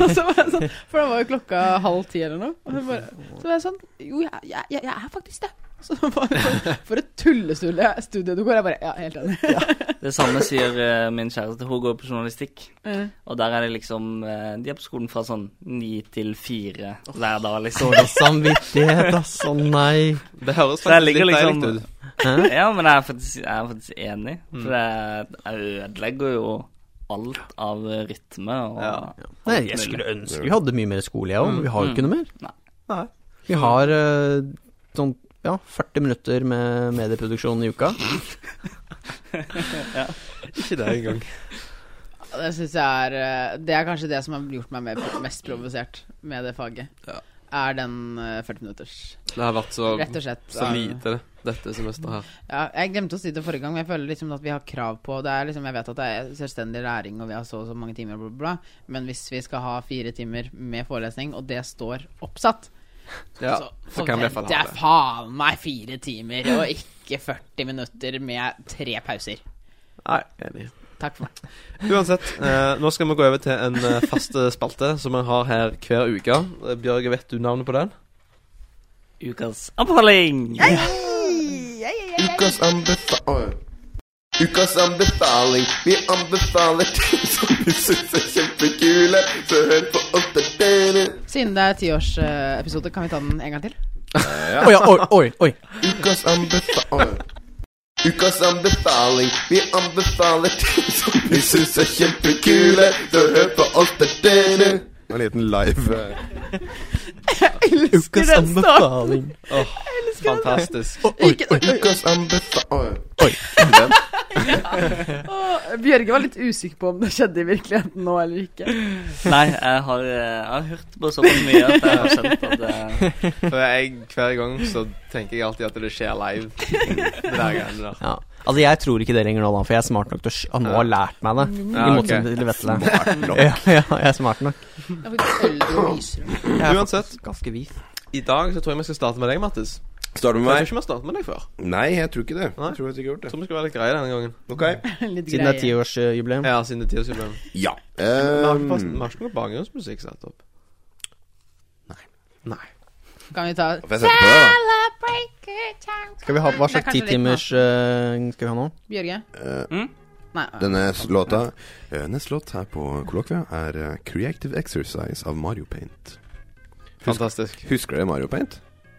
og så var jeg sånn For da var jo klokka halv ti eller noe. Og hun bare, så var jeg sånn Jo, jeg, jeg, jeg jeg er faktisk det. Så var det sånn, For et tullestudie studie du går. Jeg bare Ja, helt enig. Det samme sier eh, min kjæreste. Hun går på journalistikk. Mm. Og der er det liksom eh, De er på skolen fra sånn ni til fire hver dag, liksom. Dårlig samvittighet, ass. Å nei. Det høres Så jeg faktisk ligger litt liksom- deilig ut. Hæ? Ja, men jeg er faktisk, jeg er faktisk enig. For det jeg ødelegger jo alt av rytme og Ja. Nei, jeg skulle ønske vi hadde mye mer skole, jeg òg. Vi har jo ikke noe mer. Nei. Nei. Vi har eh, sånn ja, 40 minutter med medieproduksjon i uka. Ikke det engang. Det synes jeg er eh, Det er kanskje det som har gjort meg mer- mest provosert med det faget. Ja. Er den eh, 40 minutters. Det har vært så, Rett og slett. så av- lite dette semesteret her. Ja, jeg glemte å si det forrige gang, men jeg føler liksom at vi har krav på det er liksom, Jeg vet at det er selvstendig læring, og vi har så og så mange timer, bla, bla, bla. Men hvis vi skal ha fire timer med forelesning, og det står oppsatt, Ja, så kan vi i hvert fall forventer ha jeg det. faen meg fire timer, og ikke 40 minutter med tre pauser. Nei, enig. Takk for meg. Uansett, eh, nå skal vi gå over til en eh, fast eh, spalte som vi har her hver uke. Eh, Bjørg, vet du navnet på den? Ukas oppholding! Ukas anbefaling Ukas anbefaling Vi anbefaler ting som vi synes er kjempekule Så hør på oss der dere Siden det er tiårsepisode, kan vi ta den en gang til? Oi, ja, oi, oi, oi. Ukas anbefaling Ukas anbefaling Vi anbefaler ting som vi synes er kjempekule Så hør på oss der dere En liten live Ukas anbefaling. Åh, fantastisk. Oi, oi, oi. Ukas anbefaling Oi. Bjørge var litt usikker på om det skjedde i virkeligheten nå eller ikke. Nei, jeg har, eh, jeg har hørt på såpass mye at jeg har skjønt at eh, For jeg, hver gang så tenker jeg alltid at det skjer live. Det der greiene der. Ja. Altså, jeg tror ikke det lenger nå, da, for jeg er smart nok til å sk- Han må ha lært meg det. Ja, I ok. motsetning til Vetle. Ja, ja, jeg er smart nok. Jeg fikk eldre og lysere. Jeg er Uansett. faktisk Ganske vis. I dag så tror jeg vi skal starte med deg, Mattis. Starter Jeg du tror ikke vi har startet med deg før. Nei, jeg tror ikke det Nei. tror jeg ikke har gjort Jeg tror vi skal være litt greie denne gangen. Ok Litt Siden det er greie. tiårsjubileum. Ja, siden det er tiårsjubileum. Ja ehm, Vi har ikke forresten- vi har ikke noe bakgrunnsmusikk satt opp. Nei. Nei. Kan vi ta Får jeg sette på det da? Skal vi ha, Det Hva er slags kanskje litt titimers uh, skal vi ha nå? Bjørge? Eh, Mm? Nei. Denne s- låta eh, Neste låt her på Kolokvia er eh, Creative Exercise av Mario Paint. Fantastisk. Husker dere Mario Paint?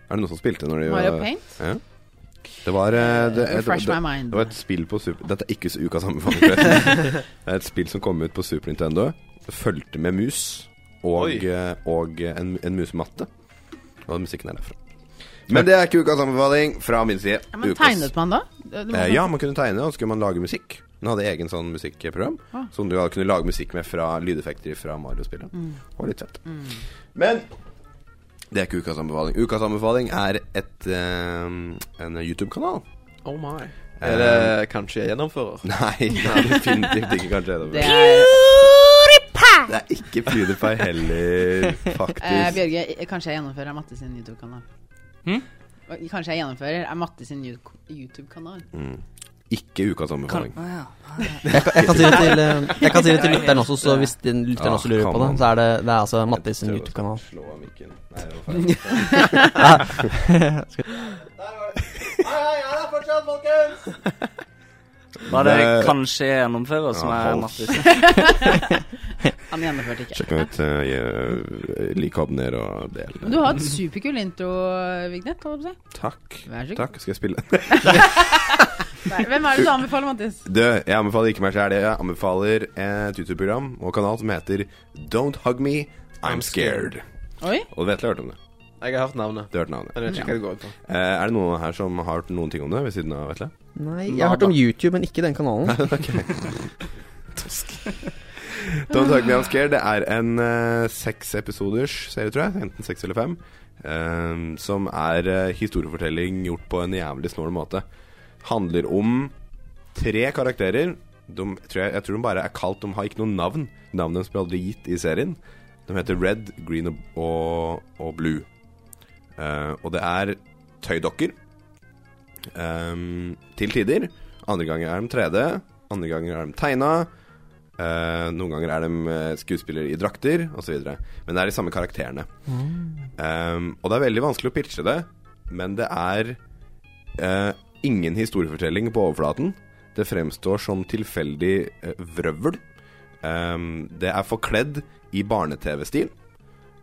Er det noen som spilte når de Mario var- Paint? Det var eh, det, det, det, Refresh my det, mind. var et spill på Super Dette er ikke ukas anbefaling, forresten. det er et spill som kom ut på Super Nintendo. Det fulgte med mus og, Oi. eh, og eh, en, en musematte. Og musikken er derfra. Men det er ikke ukas anbefaling fra min side. Ja, men Ukas- tegnet man da? Det- det må Eh, man- ja, man kunne tegne, og så kunne man lage musikk. Den hadde egen sånn musikkprogram Ah. som du kunne lage musikk med fra lydeffekter fra Mario-spillet. Mm. Det var litt fett. Mm. Men det er ikke ukas anbefaling. Ukas anbefaling er et eh, en YouTube-kanal. Oh my. Er det kanskje jeg gjennomfører? Nei, det er definitivt ikke kanskje det. Det er Det er ikke PewDiePie heller, faktisk. eh, Bjørge, i- kanskje jeg gjennomfører er Matte sin YouTube-kanal. Hm? Og Kanskje jeg gjennomfører er Matte sin you- YouTube-kanal. mm. Ikke ukas anbefaling. Å, ja. Jeg, kan- jeg kan si det til, eh, jeg kan si det til lytteren også, så hvis den lytteren Ja, også lurer på kan det, man. så er det, det er altså Mattis sin YouTube-kanal. Slå av mikken. Nei, det var feil. Var det Det- kanskje jeg gjennomfører som Ja, er hold. Mattis? Han gjennomførte ikke. Sjekk meg ut. eh, Uh, like, abonner og del. Men du har et superkul intro-vignett. holdt jeg på å Takk. si. Vær så god. Takk. Skal jeg spille? Nei, Hvem er det du anbefaler, Mattis? Du, jeg anbefaler ikke meg selv det. Jeg anbefaler et YouTube-program og kanal som heter Don't Hug Me, I'm Scared. Oi? Og du vet jeg har hørt om det. Jeg har hørt navnet. Du har hørt navnet. Men jeg vet ikke hva det går ut på. Eh, er det noen her som har hørt noen ting om det ved siden av Vetle? Nei, jeg har hørt om YouTube, men ikke den kanalen. Don't Hug Me I'm Scared Det er en eh, seks episoders serie, tror jeg. Enten seks eller fem. eh, som er eh, historiefortelling gjort på en jævlig snål måte. Handler om tre karakterer. De, tror jeg, jeg tror de bare er kalt De har ikke noe navn. Navnet deres blir aldri gitt i serien. De heter Red, Green og, og, og Blue. Eh, og det er tøydokker. eh, til tider. Andre ganger er de 3D. Andre ganger er de tegna. Eh, noen ganger er de eh, skuespillere i drakter, osv. Men det er de samme karakterene. Um, og det er veldig vanskelig å pitche det, men det er eh, ingen historiefortelling på overflaten. Det fremstår som tilfeldig eh, vrøvl. Um, det er forkledd i barne-TV-stil.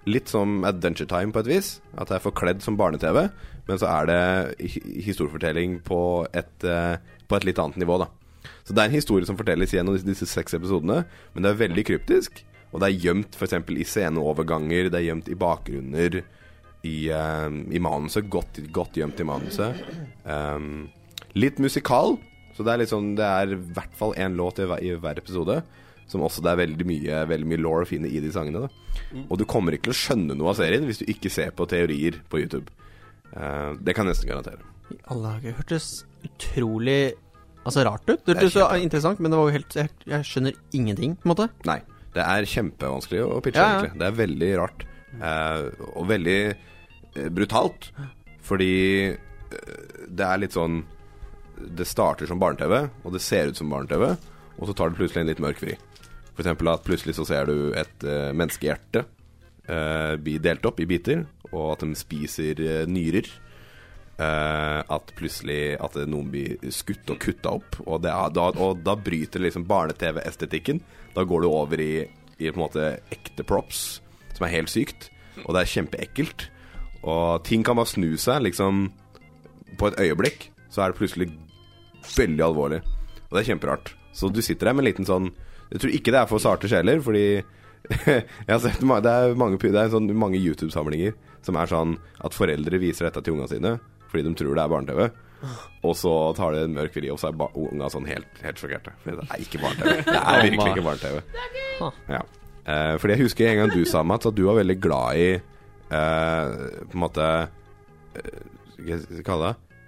Litt som Adventure Time på et vis. At det er forkledd som barne-TV, men så er det hi- historiefortelling på et, eh, på et litt annet nivå, da. Så det er en historie som fortelles gjennom disse, disse seks episodene, men det er veldig kryptisk. Og det er gjemt f.eks. i sceneoverganger, det er gjemt i bakgrunner, i, eh, i manuset. Godt, godt gjemt i manuset. Um, litt musikal, så det er litt sånn Det er i hvert fall én låt i hver, i hver episode. Som også det er veldig mye, veldig mye law å finne i de sangene. Da. Og du kommer ikke til å skjønne noe av serien hvis du ikke ser på teorier på YouTube. Eh, det kan jeg nesten garantere. I alle dager. det Hørtes utrolig Altså rart ut. Det hørtes så interessant, men det var jo helt Jeg, jeg skjønner ingenting, på en måte. Nei. Det er kjempevanskelig å pitche, Ja, ja. egentlig. Det er veldig rart. eh, og veldig eh, brutalt. Fordi eh, det er litt sånn Det starter som barne-TV, og det ser ut som barne-TV, og så tar det plutselig en litt mørk vri. For eksempel at plutselig så ser du et eh, menneskehjerte eh, bli delt opp i biter, og at de spiser eh, nyrer. Eh, at plutselig at det- noen blir skutt og kutta opp. Og, det, er- da, og da bryter liksom barne-TV-estetikken. Da går du over i, i på en måte ekte props, som er helt sykt. Og det er kjempeekkelt. Og ting kan bare snu seg, liksom På et øyeblikk så er det plutselig veldig alvorlig. Og det er kjemperart. Så du sitter der med en liten sånn Jeg tror ikke det er for sarte sjeler, fordi jeg har sett ma- Det er mange, pu- det er sånn, mange YouTube-samlinger som er sånn at foreldre viser dette til unga sine fordi de tror det er barne-TV. Og så tar det en mørk vri, og så er ba- unga sånn helt, helt sjokkerte. Fordi det er ikke barne-TV. Det er virkelig ikke barne-TV. Ja. Eh, fordi jeg husker en gang du sa, Mats, at du var veldig glad i eh, På en måte eh, Hva skal jeg kalle det?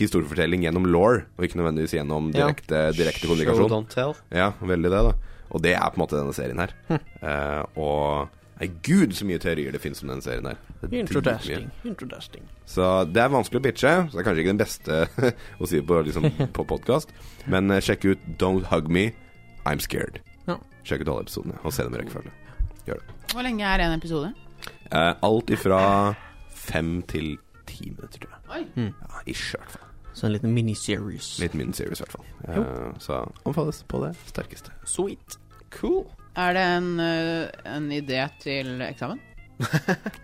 Historiefortelling gjennom law, og ikke nødvendigvis gjennom Ja. direkte, direkte Show, kommunikasjon. don't tell. Ja, veldig det, da. Og det er på en måte denne serien her. Hm. Eh, og Nei, gud, så mye teorier det finnes om denne serien her. Det er dritmye. Interesting. Interesting. Så det er vanskelig å bitche, så det er kanskje ikke den beste å si på, liksom, på podkast. Men eh, sjekk ut Don't Hug Me, I'm Scared. Ja. Sjekk ut alle episodene og se dem i rekkefølge. Gjør det. Hvor lenge er en episode? Eh, alt ifra fem til ti minutter, tror jeg. Oi. Ja, ish, i hvert fall. Så en liten miniseries. Litt min series, i hvert fall. Eh, så anbefales på det sterkeste. Sweet. Cool. Er det en, øh, en idé til eksamen?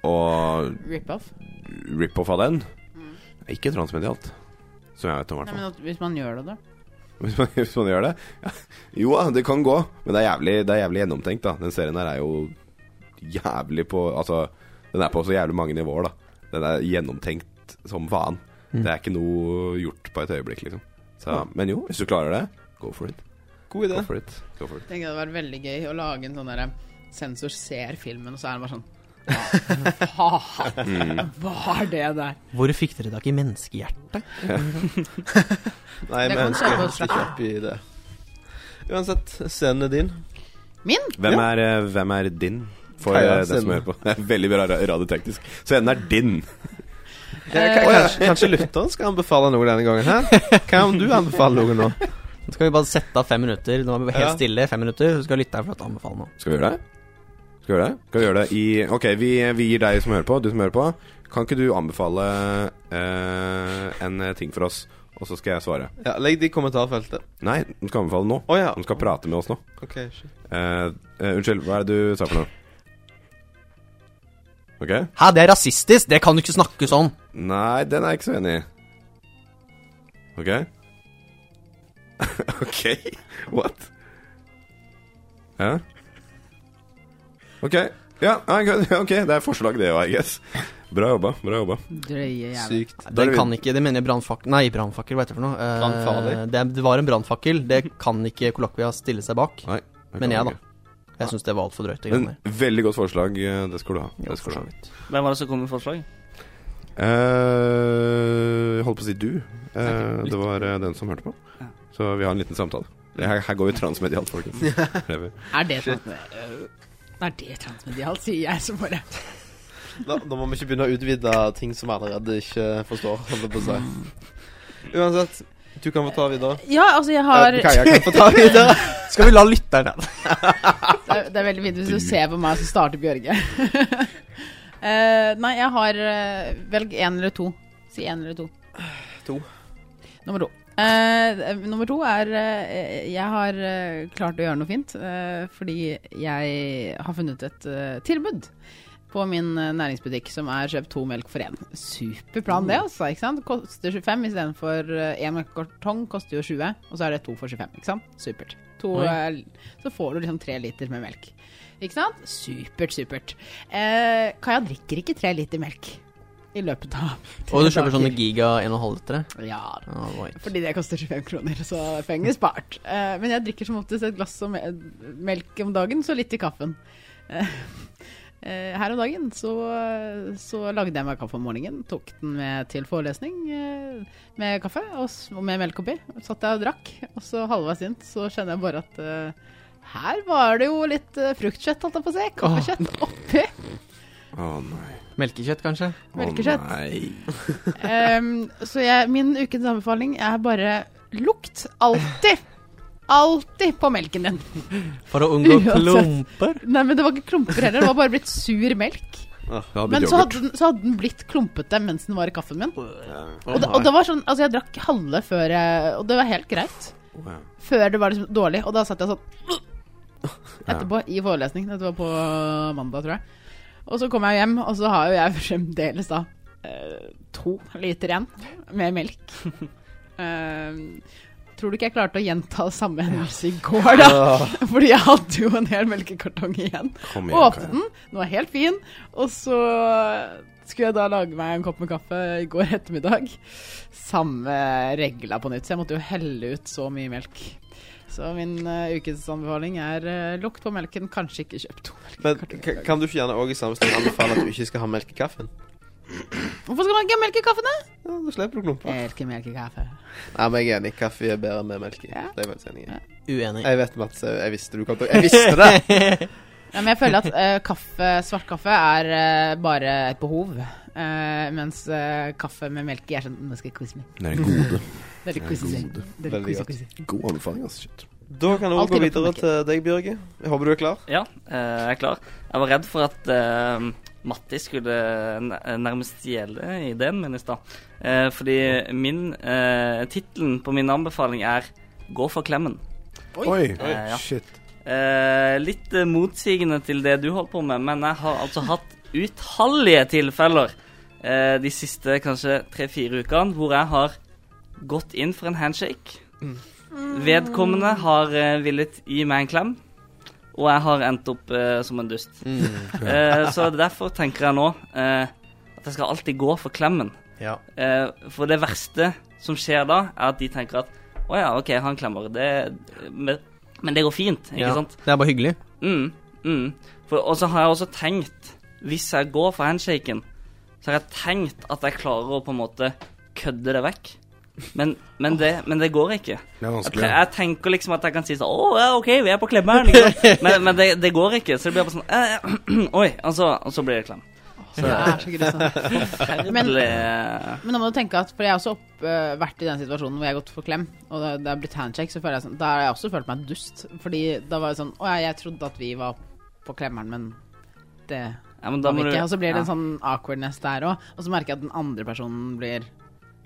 Og Rip-off? rip-off av den Ikke transmedialt, som jeg vet om, i hvert Mm. Nei, fall. men at, hvis man gjør det, da. Hvis man, hvis man gjør det? Ja. Jo da, det kan gå, men det er jævlig, det er jævlig gjennomtenkt, da. Den serien her er jo jævlig på Altså, den er på så jævlig mange nivåer, da. Den er gjennomtenkt som faen. Det er ikke noe gjort på et øyeblikk, liksom. Så, men jo, hvis du klarer det, go for it. God idé. Go for it. Go for it. Tenker det hadde vært veldig gøy å lage en sånn derre Sensor ser filmen, og så er det bare sånn Mm. Faen! Hva er det der? Hvor fikk dere tak i menneskehjerte? Nei, Det vi kan ønsker skje på å stikke opp i det. Uansett, scenen er din. Min? Hvem, er, eh, hvem er din? For Kaja eh, den som Senden. hører på. Det er veldig bra ra- radioteknisk. Så den er din. Å, ja. Eh, Kanskje lytteren skal anbefale noe denne gangen? Hæ? Hva om du anbefaler noe nå? Nå skal vi bare sette av fem minutter. Nå er vi helt Ja. stille i fem minutter, så skal lytteren få lov til å anbefale noe. Skal vi gjøre det? Skal vi gjøre det? Skal vi gjøre det i Ok, vi, vi gir deg som hører på, du som hører på. Kan ikke du anbefale eh, en ting for oss, og så skal jeg svare? Ja, legg det i kommentarfeltet. Nei, de skal anbefale nå. Å ja. De skal prate med oss nå. OK. shit. Eh, eh, unnskyld, hva er det du sa for noe? Ok? Hæ, det er rasistisk! Det kan du ikke snakke sånn! Nei, den er jeg ikke så enig i. Ok? ok? What? Hæ? Ok. Ja, nei, ok, det er forslag det òg, I guess. Bra jobba. bra jobba Drøye jævla Sykt. Da er Det vi- kan ikke, det mener jeg brannfakkel Nei, brannfakkel, hva heter det for noe? Eh, Brannfarlig. det, det var en brannfakkel. Det kan ikke kollokvia stille seg bak. Nei, det Men kan jeg, du da. ikke. Jeg syns det var altfor drøyt. det Men greiene der. veldig godt forslag. eh, Det skal du ha. Jo, Det skal for du så ha. vidt. Hvem var det som kom med forslag? Eh, jeg holdt på å si du. Eh, Ok. det var eh, den som hørte på. Ja. Så vi har en liten samtale. Det Her, her går jo transmedialt, folkens. Lever. Er det transmedialt? Er det transmedialt, sier jeg som bare Da, da må vi ikke begynne å utvide ting som vi allerede ikke forstår. Holdt jeg på å si. Uansett, du kan få ta videre. Ja, altså, jeg har Eh, Kaja kan få ta videre. Skal vi la lytteren Det er, det er veldig fint hvis du ser på meg, så starter Bjørge. Eh, nei, jeg har eh, Velg én eller to. Si én eller to. To. Nummer to. Eh, nummer to er eh, Jeg har eh, klart å gjøre noe fint eh, fordi jeg har funnet et eh, tilbud på min eh, næringsbutikk som er kjøp to melk for én. Super plan Mm. det, altså. ikke sant? Koster 25 istedenfor én melkekartong eh, koster jo 20, og så er det to for 25. ikke sant? Supert. To, Oi. eh, så får du liksom tre liter med melk. Ikke sant? Supert, supert. Eh, Kaja drikker ikke tre liter melk i løpet av tre Og du kjøper dager. sånne giga 1,5-litere? Ja, Oh, right. fordi det koster 25 kroner, så penger spart. Eh, men jeg drikker som oftest et glass om, melk om dagen, så litt i kaffen. Eh, eh, her om dagen så, så lagde jeg meg kaffe om morgenen, tok den med til forelesning eh, med kaffe og s- og med melk oppi. Satt jeg og drakk, og så halvveis inn så kjenner jeg bare at eh, her var det jo litt eh, fruktkjøtt, holdt jeg på å si. Kaffekjøtt oppi. Å nei. Melkekjøtt, kanskje? Å, Melkekjøtt. nei. Ehm, så jeg, min ukens anbefaling er bare lukt alltid. Alltid på melken din. For å unngå Uansett. klumper? Nei, men det var ikke klumper heller, det var bare blitt sur melk. Det hadde Men blitt så yoghurt. hadde, den, så hadde den blitt klumpete mens den var i kaffen min. Ja. Og det, og det var sånn, altså jeg drakk halve før jeg Og det var helt greit. Å, ja. Før det var liksom dårlig, og da satt jeg sånn Etterpå, i forelesning. Dette var på mandag, tror jeg. Og så kom jeg hjem, og så har jo jeg fremdeles da eh, to liter igjen med melk. Eh, tror du ikke jeg klarte å gjenta samme hendelse i går, da? Fordi jeg hadde jo en hel melkekartong igjen. Kom igjen, Åpnet Kaja. den, den var helt fin, og så skulle jeg da lage meg en kopp med kaffe i går ettermiddag. Samme regla på nytt, så jeg måtte jo helle ut så mye melk. Så min eh, ukes anbefaling er eh, lukt på melken, kanskje ikke kjøp to Men melkekartonger. ka- kan du ikke gjerne òg i samme stund anbefale at du ikke skal ha melk i kaffen? Hvorfor skal man ikke ha melk i kaffen, da? Ja, Da slipper du klumper. Jeg elsker melk i kaffe. Nei, men jeg er enig. Kaffe er bedre med melk i. Ja. Det er jeg faktisk enig i. Uenig. Jeg vet, Mats. Jeg jeg visste du kom til å Jeg visste det! Ja, men jeg føler at eh, kaffe, svart kaffe er eh, bare et behov. eh, mens eh, kaffe med melk i er sånn Nå skal jeg kose meg. Det er en gode. Det er litt Ja, koselig. god. Det er Veldig litt godt. koselig, koselig. God anbefaling, altså. Shit. Da kan vi Alltid gå godt videre med melk. til deg, Bjørge. Jeg håper du er klar. Ja, eh, jeg er klar. Jeg var redd for at eh, Matti skulle n- nærmest stjele ideen min i stad. Eh, fordi min uh, tittelen på min anbefaling er 'Gå for klemmen'. Oi. Oi. Eh, ja. Shit. Eh, litt eh, motsigende til det du holder på med, men jeg har altså hatt utallige tilfeller eh, de siste kanskje tre-fire ukene hvor jeg har gått inn for en handshake. Mm. Vedkommende har eh, villet gi meg en klem, og jeg har endt opp eh, som en dust. Mm. Eh, så derfor tenker jeg nå eh, at jeg skal alltid gå for klemmen. Ja. Eh, for det verste som skjer da, er at de tenker at å ja, OK, han klemmer. Det, men, men det går fint, ikke Ja. sant? Det er bare hyggelig. Mm, mm. For, og så har jeg også tenkt, hvis jeg går for handshaken, så har jeg tenkt at jeg klarer å på en måte kødde det vekk. Men, men, det, men det går ikke. Det er Jeg, vanskelig. tre, jeg tenker liksom at jeg kan si sånn Å, ja, OK, vi er på klemme her. Liksom. Men, men det, det går ikke. Så det blir bare sånn eh, Oi. Og så, og så blir det klem. Det er så grusomt. Men- Eller, eh, Men da må du tenke at, for jeg har også opp, eh, vært i den situasjonen hvor jeg har gått for klem, og det, det har blitt handshake, så føler jeg sånn Da har jeg også følt meg dust, fordi da var det sånn Å ja, jeg trodde at vi var på klemmeren, men det ja, men da var vi må du- ikke. Og så blir det ja. en sånn awkwardness der òg, og så merker jeg at den andre personen blir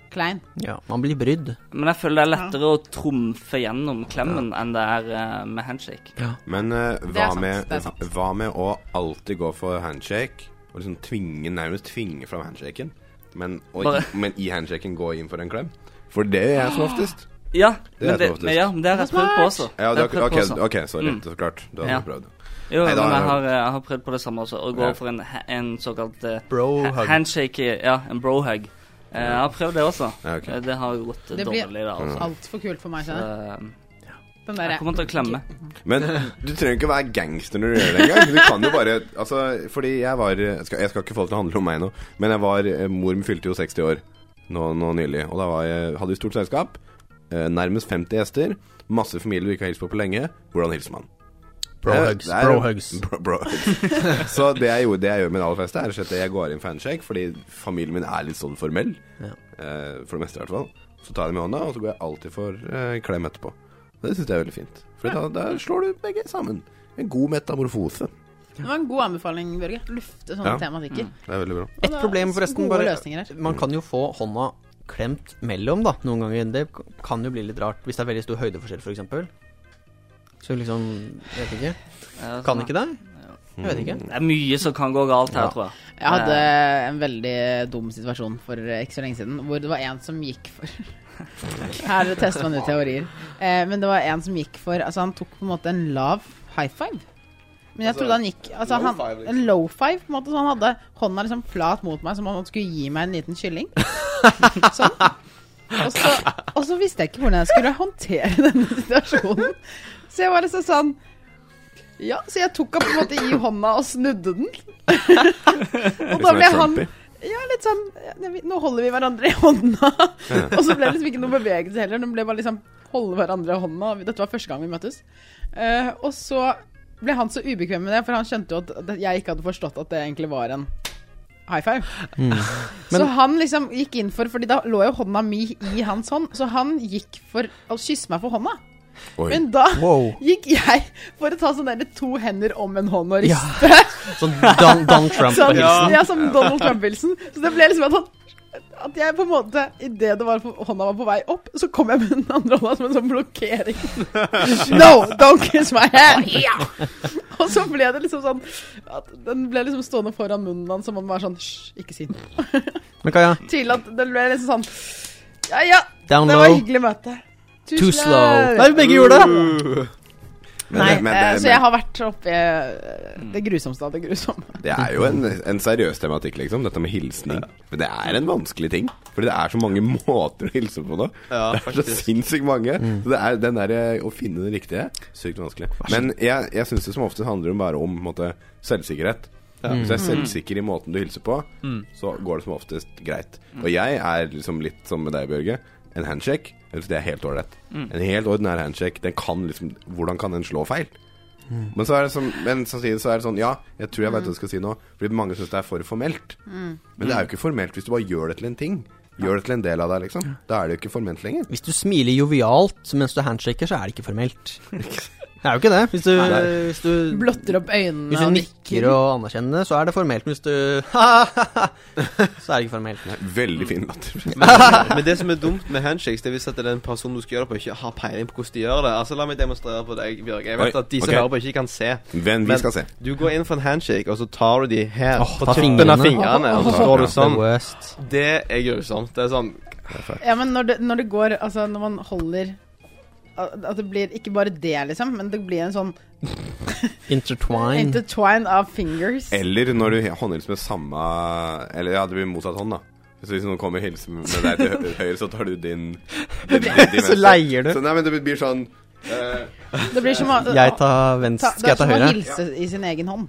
klein. Ja, Man blir brydd. Men jeg føler det er lettere å trumfe gjennom klemmen enn det er eh, med handshake. Men eh, Det er hva, sant, med, det er sant. hva med å alltid gå for handshake? Og liksom tvinge, nærmest tvinge fram handshaken. Men, og, Bare- men i handshaken gå inn for en klem. For det gjør jeg som Ah. oftest. Ja, Det men er det, faktisk- men, ja, men det har jeg prøvd på også. Ja, det, Det har jeg prøvd på ok, også. ok, sorry. Mm. Så klart. Du hadde Ja. jeg prøvd. Jo, Nei, da- men jeg har, jeg har prøvd på det samme også. Å gå Ja. for en, ha- en såkalt eh, ha- Bro-hug. handshake Ja, en bro-hug. Eh, jeg har prøvd det også. Ja, ok. Eh, Det har jo gått eh, Det blir- dårlig, da. Altså. Altfor kult for meg, Så, kjenner jeg. eh, Den Jeg derre kommer til å klemme. Men du trenger ikke være gangster når du gjør det engang. Du kan jo bare Altså, fordi jeg var jeg skal, jeg skal ikke få det til å handle om meg nå, men jeg var eh, Mor min fylte jo 60 år nå, nå nylig, og da var jeg, hadde vi stort selskap. Eh, nærmest 50 gjester. Masse familier du ikke har hilst på på lenge. Hvordan hilser man? Bro Det- hugs, det er- bro hugs. Bro, bro hugs. Så det jeg, gjorde, det jeg gjør med de aller fleste, er rett og slett at jeg går inn for handshake, fordi familien min er litt sånn formell. Ja. Eh, for det meste, i hvert fall. Så tar jeg dem i hånda, og så går jeg alltid for eh, klem etterpå. Og Det syns jeg er veldig fint. For da, da slår du begge sammen. En god metamorfose. Det var en god anbefaling, Børge. Lufte sånne Ja. tematikker. Mm. Det er veldig bra. Og Et da- problem, forresten. Gode Bare, løsninger her. man kan jo få hånda klemt mellom, da, noen ganger. Det kan jo bli litt rart hvis det er veldig stor høydeforskjell, f.eks. Så liksom Jeg vet ikke. Eh, Kan sånn. ikke det? Jeg vet ikke. Mm. Det er mye som kan gå galt her, Ja. tror jeg. Jeg hadde Eh. en veldig dum situasjon for ikke så lenge siden, hvor det var en som gikk for Her tester man ut teorier. Eh, men det var en som gikk for Altså, han tok på en måte en lav high five. Men jeg Altså, trodde han gikk altså, low han, five, liksom. En low five, på en måte. Så han hadde hånda liksom flat mot meg, som om han skulle gi meg en liten kylling. sånn. Og så, og så visste jeg ikke hvordan jeg skulle håndtere denne situasjonen. Så jeg var liksom sånn Ja, så jeg tok henne på en måte i hånda og snudde den. og da Liksom ble en han Trumpy. ja, litt sånn ja, vi- Nå holder vi hverandre i hånda. og så ble det liksom ikke noe bevegelse heller. Det ble bare liksom holde hverandre i hånda. Dette var første gang vi møttes. Eh, og så ble han så ubekvem med det, for han skjønte jo at at jeg ikke hadde forstått at det egentlig var en high five. så han liksom gikk inn for Fordi da lå jo hånda mi i hans hånd, så han gikk for å kysse meg for hånda. Oi. Men da Wow. gikk jeg for å ta sånn derre to hender om en hånd og Ja. riste. Sånn Don, Don Trump på Sånn, ja. hilsen. som Donald Trump-hilsen. Så det ble liksom at han at jeg på en måte, idet det var på, hånda var på vei opp, så kom jeg med den andre hånda som en sånn blokkering. No, don't kiss my hand! Ja! Og så ble det liksom sånn at Den ble liksom stående foran munnen hans som om den var sånn Hysj, ikke si noe. Men Kaja, Tydelig at den ble liksom sånn Ja, ja, down det var low, hyggelig møte. Oh, too slow. Nei, Tusen begge gjorde det. Men det- men Eh, det- Så jeg har vært oppi eh, Mm. det grusomste av det grusomme. Det er jo en, en seriøs tematikk, liksom, dette med hilsning. Men det er en vanskelig ting. Fordi det er så mange måter å hilse på nå. Ja, det er så faktisk. sinnssykt mange. Så det er den der, eh, å finne den riktige, sykt vanskelig. Men jeg, jeg syns det som oftest handler om bare om på en måte, selvsikkerhet. Hvis Mm. du er selvsikker i måten du hilser på, så går det som oftest greit. Mm. Og jeg er liksom litt som med deg, Bjørge. En handshake, jeg synes det er helt ålreit. Mm. En helt ordinær handshake, den kan liksom Hvordan kan den slå feil? Men, så er det sånn, men samtidig så er det sånn Ja, jeg tror jeg vet hva jeg skal si nå. Fordi mange syns det er for formelt. Mm. Men det er jo ikke formelt hvis du bare gjør det til en ting. Gjør det til en del av deg, liksom. Da er det jo ikke formelt lenger. Hvis du smiler jovialt mens du handshaker, så er det ikke formelt. Det er jo ikke det. Hvis du, Nei. hvis du, Blotter opp øynene hvis du og nikker og anerkjenner det, så er det formelt. Men hvis du Så er det ikke formelt. Veldig fin Mm. latter. Men det som er dumt med handshakes, det er hvis at den personen du skal gjøre det på, ikke har peiling på hvordan de gjør det. Altså La meg demonstrere på deg, Bjørg. Jeg vet Oi, at de som ok. hører på, ikke kan se. Men vi skal se. du går inn for en handshake, og så tar du de her Åh, på ta tuppen av fingrene, og så Åh, står ja. du sånn. The worst. Det er grusomt. Det er sånn Ja, men når det, når det går Altså, når man holder at at det blir ikke bare det, liksom, men det blir en sånn Intertwine. intertwine av fingers. Eller når du håndhilser med samme Eller ja, det blir motsatt hånd, da. Så hvis noen kommer og hilser med deg til hø- høyre, så tar du din, din, din, din Så leier du. Så, nei, men det blir sånn eh, Det blir som å Jeg tar venstre. ta- Skal jeg ta Det er som å høyre? hilse i sin egen hånd.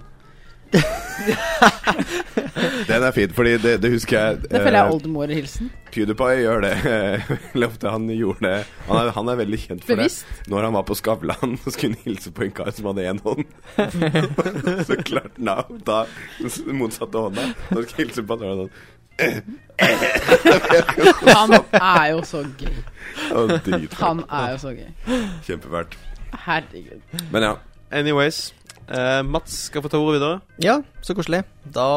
Den er fin, fordi det, det husker jeg Det føler jeg eh, er oldemorhilsen. PewDiePie gjør det veldig ofte. Han gjorde det han er, han er veldig kjent for Bevisst. det. Når han var på Skavlan, så skulle han hilse på en kar som hadde én hånd. så klarte han å ta den motsatte hånda. Når han skulle hilse på han, så var han sånn Han er jo så gøy. Å, dritfett. Han er jo så gøy. Kjempefælt. Herregud. Men ja. Anyways. eh, Mats skal få ta ordet videre. Ja, så koselig. Da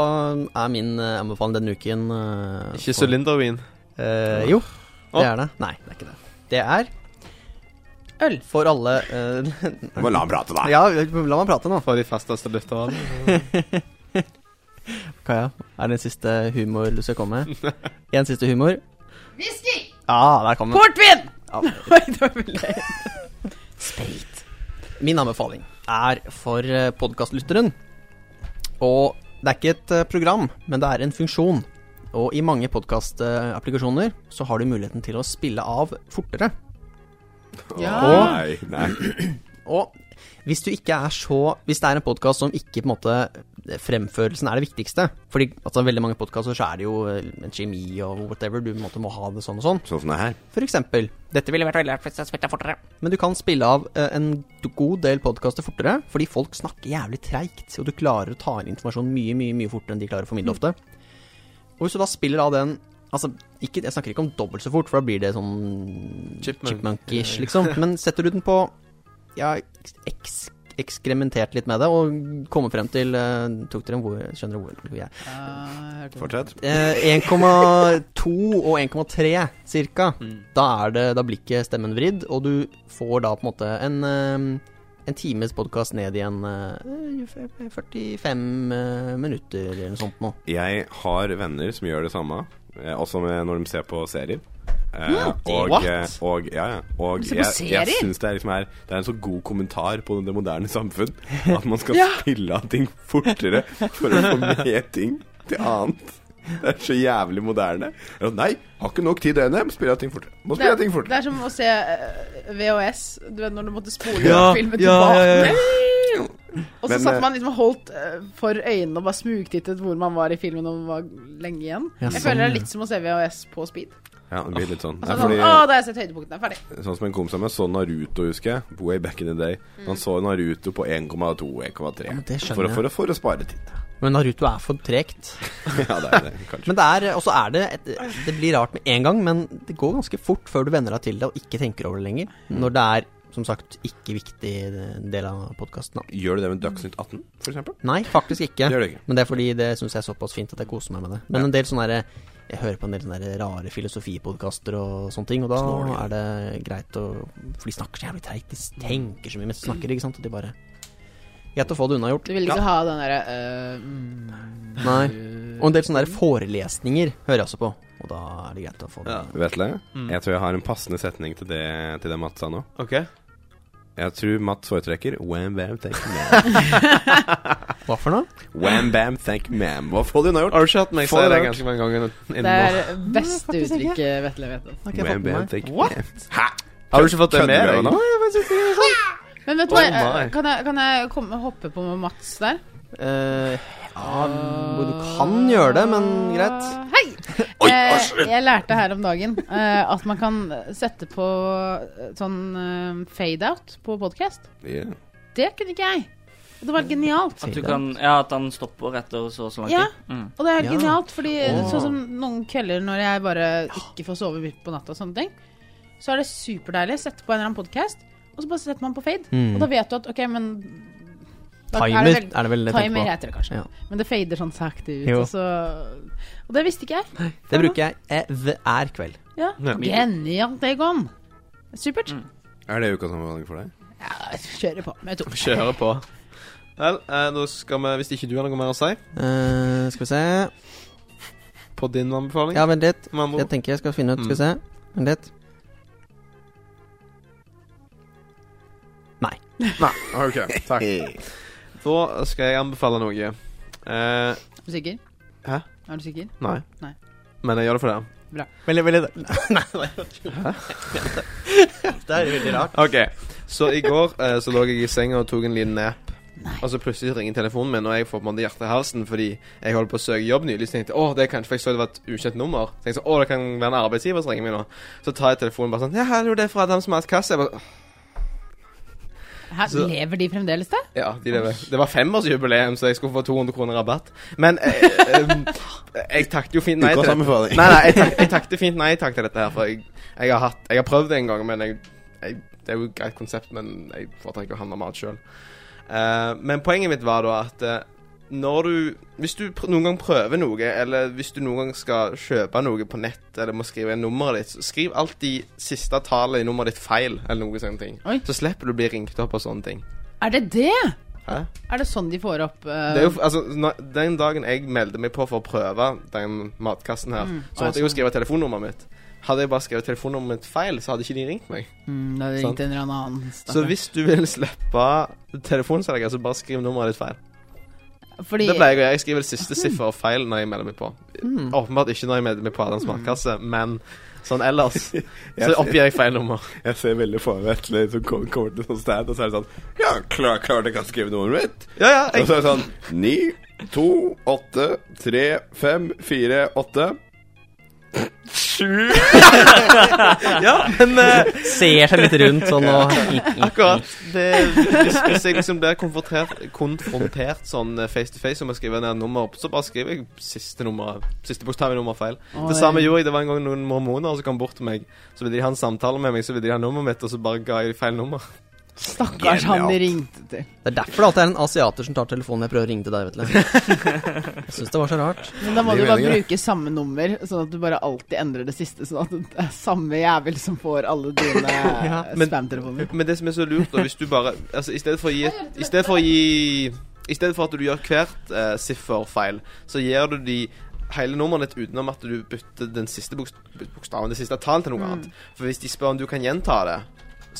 er min eh, anbefaling denne uken eh, Ikke på- sylindervin. Eh, jo, Å. det er det. Nei, det er ikke det. Det er Øl. for alle eh, Bare la han prate, da. Ja, la meg prate nå. For de fasteste lytterne. Kaja, er det en siste humor du skal komme med? En siste humor. Whisky! Ja, der kom den. Portvin! Ja. Oi, det var veldig Sprit. Min anbefaling er for eh, podcastlytteren Og det er ikke et eh, program, men det er en funksjon. Og i mange podkastapplikasjoner så har du muligheten til å spille av fortere. Ja. Nei, nei. Og hvis du ikke er så Hvis det er en podkast som ikke på en måte eh, Fremførelsen er det viktigste. Fordi altså, veldig mange podkaster så er det jo eh, en kjemi og whatever. Du på en måte må ha det sånn og sånn. Sånn som det her. For eksempel. Dette ville vært veldig lett spilt fortere. Men du kan spille av eh, en god del podkaster fortere, fordi folk snakker jævlig treigt, og du klarer å ta inn informasjon mye, mye mye fortere enn de klarer å formidle ofte. Og hvis du da spiller av den Altså, ikke, jeg snakker ikke om dobbelt så fort, for da blir det sånn Chipmunk. chipmunk-ish, liksom. Men setter du den på Ja, eks ekskrementert litt med det, og kommer frem til eh, Tok dere en hvor Skjønner dere hvor hvor jeg er? Ja, jeg hørte det. Fortsett. Eh, 1,2 og 1,3 cirka. Da, er det, da blir ikke stemmen vridd, og du får da på en måte en, eh, en times podkast ned i en eh, 45 eh, minutter eller noe sånt noe. Jeg har venner som gjør det samme, eh, også med når de ser på serier. Eh, og, what? eh, og, ja, ja. og Du ser på jeg, jeg serier? syns det er liksom her Det er en så god kommentar på det moderne samfunn at man skal spille av ting fortere for å få med ting til annet. Det er så jævlig moderne. Ja, Nei, har ikke nok tid døgnet. Må spille av ting fortere. Må Det spille er, av ting det fortere. er som å se eh, VHS, du vet når du måtte spole Ja, filmen ja, tilbake. ja, ja. Og så Men, eh, satt man liksom og holdt eh, for øynene og bare smugtittet hvor man var i filmen og var lenge igjen. Ja, jeg sånn, føler det ja. er litt som å se VHS på speed. Ja, det blir litt sånn. Og Det så er sånn, fordi- Å, da har jeg sett høydepunktene. Ferdig. Sånn som en kompis av meg så Naruto, husker jeg. Way back in the day. Han så Naruto på 1,2-1,3. Ja, men det skjønner for, å- jeg. for, å- for å spare tid. Men Naruto er for tregt. ja, det er det, kanskje. Men det er, og så er det et, Det blir rart med en gang, men det går ganske fort før du venner deg til det og ikke tenker over det lenger. Når det er, som sagt, ikke viktig eh, del av podkasten. Gjør du det med Dagsnytt 18, for eksempel? Nei, faktisk ikke. Det gjør du ikke. Men det er fordi det syns jeg er såpass fint at jeg koser meg med det. Men en del sånne der, jeg hører på en del sånne der rare filosofipodkaster og sånne ting, og da Snålige. er det greit å For de snakker så jævlig treigt. De tenker så mye mens de snakker, ikke sant. Og de bare Greit å få det unnagjort. Du vil ikke Ja. ha den derre eh, mm, Nei. Og en del sånne der forelesninger hører jeg også på, og da er det greit å få det. Ja. Vetle, Mm. jeg tror jeg har en passende setning til det, til det Mats sa nå. OK. Jeg tror Mats foretrekker Wham bam, thank you ma'am. Hva for noe? Wham bam, thank you ma'am. Hva får du nå gjort? Har du ikke hørt meg si Får det det. ganske mange ganger innen Det nå? er det beste faktisk ikke. uttrykket Vetle vet om. Har ikke jeg Wham fått med bam, meg. thank you ma'am. Hæ? Har du ikke fått det med Kødder du deg? nå? Men vet du Oh hva, my. eh, kan jeg, kan jeg komme, hoppe på med Mats der? Eh, ja, du kan gjøre det, men greit. Ah, Hei! Eh, jeg lærte her om dagen eh, at man kan sette på eh, sånn eh, fade-out på podkast. Ja. Det kunne ikke jeg. Og Det var genialt. At du kan, ja, at han stopper etter så og så lang Ja. tid. Mm. Og det er Ja. genialt, fordi Åh. sånn som noen kvelder når jeg bare ikke får sove midt på natta og sånne ting, så er det superdeilig å sette på en eller annen podkast, og så bare setter man på fade. Mm. Og da vet du at OK, men da er det Timer vel- er det vel jeg tenker Timer på. heter det kanskje. Ja. Men det fader sånn sakte ut, Jo. og så Og det visste ikke jeg. Det bruker jeg eh, hver kveld. Ja. Ja. Genialt, Egon. Supert. Er det ukas anbefaling for deg? Mm. Ja, kjører på med to. Kjøre på. Vel, eh, da skal vi, hvis ikke du har noe mer å si Eh, skal vi se på din anbefaling Ja, vent litt. med andre Jeg ord. tenker jeg skal finne ut. Skal vi se. Vent litt. Ah, Ok, takk. Da skal jeg anbefale noe. Eh, Er du sikker? Hæ? Er du sikker? nei. Nei. Men jeg gjør det for det. Veldig, veldig Nei, nei. Det er veldig rart. OK. Så i går eh, så lå jeg i senga og tok en liten nap. Nei. Og så plutselig ringer telefonen min, og jeg får på en måte hjertet i halsen fordi jeg holder på å søke jobb nylig. Så tenkte jeg åh, det er kanskje for jeg så det var et ukjent nummer. Så tenkte jeg, åh, det kan være en arbeidsgiver som ringer meg nå. Så tar jeg telefonen bare sånn Ja, hallo, det er fra Adams matkasse. Jeg bare, «Åh, Her, Så- lever de fremdeles det? Ja, de lever. Det var femårsjubileum, så jeg skulle få 200 kroner rabatt. Men eh, eh, jeg takket jo fint nei til Ukas det. anbefaling. Nei, nei, jeg, tak, jeg takket fint nei takk til dette her, for jeg, jeg, har, hatt, jeg har prøvd det en gang, men jeg, jeg, det er jo et greit konsept, men jeg foretrekker å handle mat sjøl. men poenget mitt var da at eh, når du Hvis du pr noen gang prøver noe, eller hvis du noen gang skal kjøpe noe på nett, eller må skrive inn nummeret ditt, så skriv alltid siste tallet i nummeret ditt feil, eller noe sånne ting. Oi. Så slipper du å bli ringt opp og sånne ting. Er det det? Hæ? Er det sånn de får opp eh, Det er jo, f- altså, når, den dagen jeg meldte meg på for å prøve den matkassen her, Mm. så måtte jeg jo skrive telefonnummeret mitt. Hadde jeg bare skrevet telefonnummeret mitt feil, så hadde ikke de ringt meg. mm, Da har de Sant. ringt en eller annen. Så stakkar. hvis du vil slippe telefonselger, så bare skriv nummeret ditt feil. Fordi Det pleier jeg å gjøre. Jeg Mm. skriver det siste sifferet feil når jeg melder meg på. Åpenbart ikke når jeg melder meg på Adams matkasse, men Sånn ellers så oppgir jeg feil nummer. Jeg ser veldig for meg et eller annet som kom- kommer til sånn stand, og så er det sånn Ja, klar, klart jeg kan skrive nummeret mitt. Ja, ja, Og jeg, så er det sånn Ni, to, åtte, tre, fem, fire, åtte. ja men eh, Ser seg litt rundt sånn og akkurat det, hvis, hvis jeg liksom blir konfrontert, konfrontert sånn eh, face to face om jeg skriver ned nummer, så bare skriver jeg siste nummer Siste bokstav i nummer feil. Det samme gjorde jeg. Det var en gang noen mormoner som kom bort til meg. Så ville de ha en samtale med meg, så ville de ha nummeret mitt, og så bare ga jeg dem feil nummer. Stakkars han de ringte til. Det er derfor det alltid er en asiater som tar telefonen når jeg prøver å ringe til deg, Vetle. Jeg syns det var så rart. Men da må Det du er bare meningen, bruke samme nummer, sånn at du bare alltid endrer det siste. Sånn at det er samme jævel som får alle dine Ja, eh, men- spam-telefoner. Men det som er så lurt, da, hvis du bare Altså, i stedet for å gi et- I stedet for å gi I stedet for at du gjør hvert eh, sifferfeil, så gir du de hele nummeret ditt utenom at du bytter den siste bokst bokstaven, det siste tallet, til noe annet. For hvis de spør om du kan gjenta det,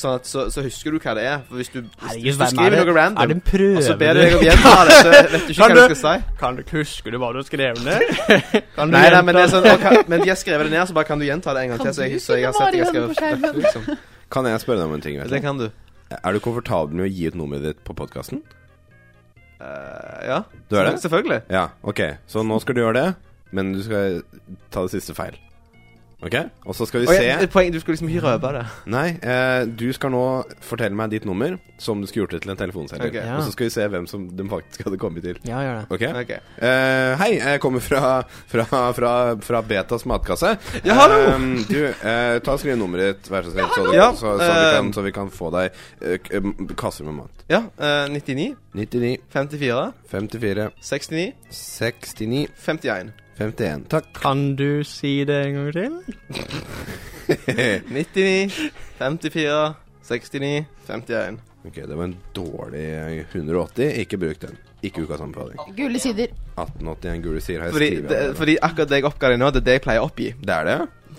sånn at, så, så husker du hva det er. For hvis du, hvis, hvis du er skriver det? noe Er det random en prøve? og så ber du deg om å gjenta det, så vet du ikke Kan hva du- du skal si. Kan du ikke huske du hva du skrev ned? Kan du Nei, nei, gjenta- men det er sånn ok, Men de har skrevet det ned, så bare kan du gjenta det en gang Kan til. Så du jeg, så jeg har ikke sett jeg har bare skrevet gjøre det på dette, liksom. Kan jeg spørre deg om en ting? Vetle? Det kan du. Er du komfortabel med å gi ut nummeret ditt på podkasten? Eh, ja. Du er det? Selvfølgelig. Ja, ok. Så nå skal du gjøre det, men du skal ta det siste feil. Ok? Og så skal vi Og se jeg, et poeng, du skulle liksom ikke røpe det. Nei, eh, du skal nå fortelle meg ditt nummer, som du skulle gjort det til en telefonselger. Ok. Ja. Og så skal vi se hvem som de faktisk hadde kommet til. Ja, gjør det. Ok? Ok. Eh, hei, jeg kommer fra, fra, fra, fra Betas matkasse. Ja, hallo! Eh, du, eh, ta og skriv nummeret ditt, vær så snill, så, du- Ja, så, så, vi eh, kan, så vi kan få deg eh, k- eh, kasser med mat. Ja. eh, 99, 99, 54, 54, 69, 69, 51. 51. Takk. Kan du si det en gang til? 99, 54, 69, 51. Ok, det var en dårlig eh, 180. Ikke bruk den. Ikke ukas anbefaling. Gule sider. 1881 Gule sier her Fordi, skriver jeg det, det. fordi akkurat det jeg oppga deg nå, det er det jeg pleier å oppgi. Det er det?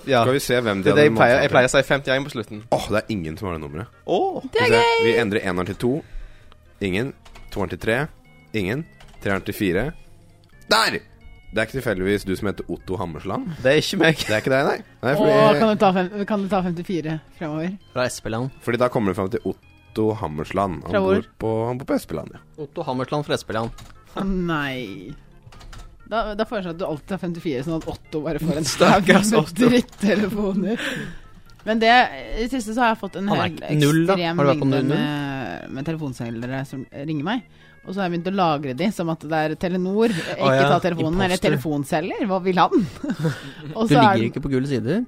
Ja. Skal vi se hvem de Det er det hadde jeg pleier, matsatt jeg pleier å si 51 på slutten. Åh, det er ingen som har det nummeret. Åh Skal vi se. Altså, Vi endrer eneren til to. Ingen. Toeren til tre. Ingen. Treeren til fire. Der! Det er ikke tilfeldigvis du som heter Otto Hammersland. Det er ikke meg. Det er ikke deg, nei. nei Å, fordi, kan du ta, fem, kan du ta 54 fremover? Fra Espeland. fordi da kommer du fram til Otto Hammersland. Fra Han hvor? bor på, han bor på Espeland, ja. Otto Hammersland fra Espeland. Å, Nei. Da, da foreslår jeg at du alltid tar 54, sånn at Otto bare får en Stakkars haug med Otto. drittelefoner. Men det, i det siste så har jeg fått en Han er hel ikke null, da. ekstrem Har du vært på mengde null, null? med, med telefonselgere som ringer meg. Og så har jeg begynt å lagre de som at det er Telenor, ikke ja. ta telefonen, eller Imposter. telefonselger, hva vil han? Og Du så er ligger den- ikke på gule sider.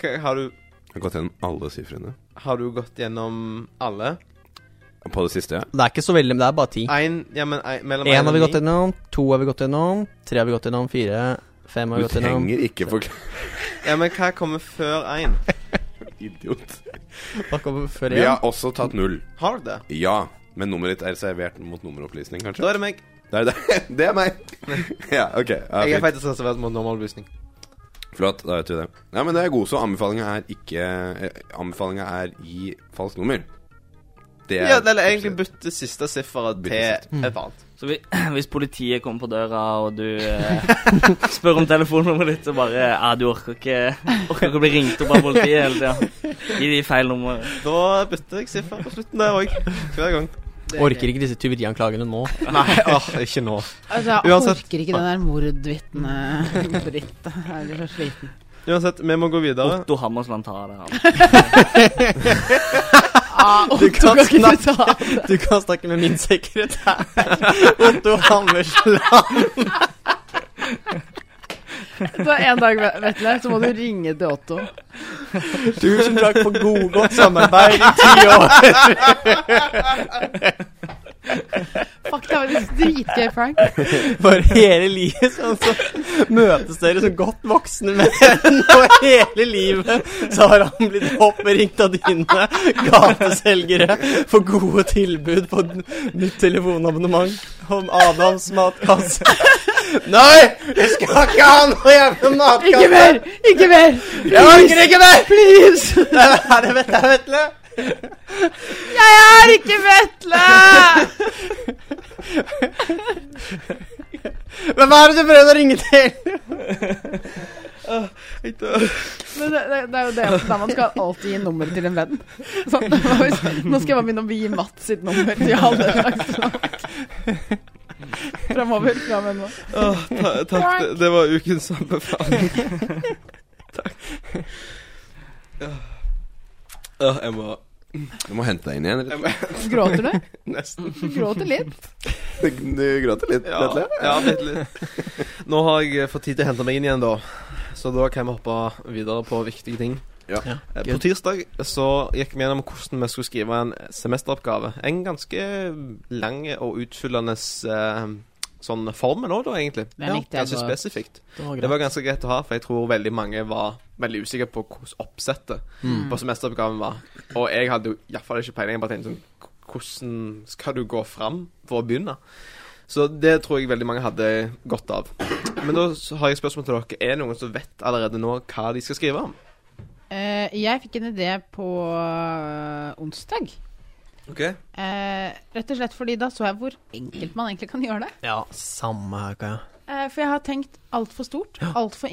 K- Har du, Jeg har gått gjennom alle sifrene. har du gått gjennom alle? På det siste, ja. Det er ikke så veldig, men det er bare ti. Én ja, men en- mellom Én en har og vi gått ni. gjennom, to har vi gått gjennom, tre har vi gått gjennom, fire, fem har Du vi gått gjennom. trenger ikke forklare Ja, men hva kommer før én? Idiot. Hva kommer før Vi igjen? har også tatt null. Har du det? Ja. Men nummeret ditt er servert mot nummeropplysning, kanskje? Da er det meg. Det er, det. det er meg. ja, ok. Ja, Jeg er fint. faktisk reservert mot normalopplysning. Flott, da vet vi det. Ja, men det er god, så anbefalinga er ikke eh, Anbefalinga er gi falskt nummer. Det Ja, eller egentlig bytte siste sifferet Bytte til et annet. Så vi, hvis politiet kommer på døra, og du eh, spør om telefonnummeret ditt, og bare Ja, du orker ikke, orker ikke å bli ringt opp av politiet hele tida. Gi de feil nummer. Da bytter jeg siffer på slutten der òg. Hver gang. Orker ikke disse tyverianklagene nå. Nei, åh, ikke nå. Altså, jeg Uansett. orker ikke den der mordvitne-drittet. Jeg blir så sliten. Uansett, vi må gå videre. Otto Hammersland tar det. han. Ah, Otto kan kan ikke snakke- ta Du kan snakke med min sekretær, Otto Hammersland. Så en dag, Vetle, så må du ringe til Otto. Tusen takk for god, godt samarbeid i ti år. Fuck, det var litt dritgøy prank. For hele livet sånn, så møtes dere som godt voksne menn, og hele livet så har han blitt oppringt av dine gateselgere for gode tilbud på n- nytt telefonabonnement om Adams matkasse. Nei! Jeg skal ikke ha noe jævla matkasse! Ikke mer! Ikke mer! Jeg orker ikke mer! Please! Det er det, vet jeg, vet du. Jeg er ikke Vetle! Men hva er det du prøver å ringe til? Jeg dør. Men det, det, det er jo det at da man skal alltid gi nummer til en venn. Sånn, det var jo sånn, nå skal jeg bare begynne å gi Mats sitt nummer til alle slags folk. Fremover, Fra men nå. Åh, ta, takk. Det, det var ukens anbefaling. takk. Åh, Åh, jeg må Du må hente deg inn igjen. jeg rett og må Gråter du? nesten Du gråter litt. slett. Du gråter litt, Ja, Vetle. ja litt, litt. Nå har jeg eh, fått tid til å hente meg inn igjen, da. Så da kan vi hoppe videre på viktige ting. Ja. Ja, Eh, På good. tirsdag så gikk vi gjennom hvordan vi skulle skrive en semesteroppgave. En ganske lang og utfyllende eh, sånn formel òg, da, egentlig. Den likte jeg ganske godt. spesifikt. Det var Det greit. var ganske greit å ha, for jeg tror veldig mange var veldig usikre på hvordan oppsettet Mm. på semesteroppgaven var. Og jeg hadde jo iallfall ikke peiling. Jeg bare tenkte sånn "K- Hvordan skal du gå fram for å begynne? Så det tror jeg veldig mange hadde godt av. Men da s- har jeg spørsmål til dere. Er det noen som vet allerede nå hva de skal skrive om? Eh, jeg fikk en idé på eh, onsdag. Ok Eh, rett og slett fordi da så jeg hvor enkelt man egentlig kan gjøre det. Ja, samme her, Kaja. Eh, for jeg har tenkt altfor stort, altfor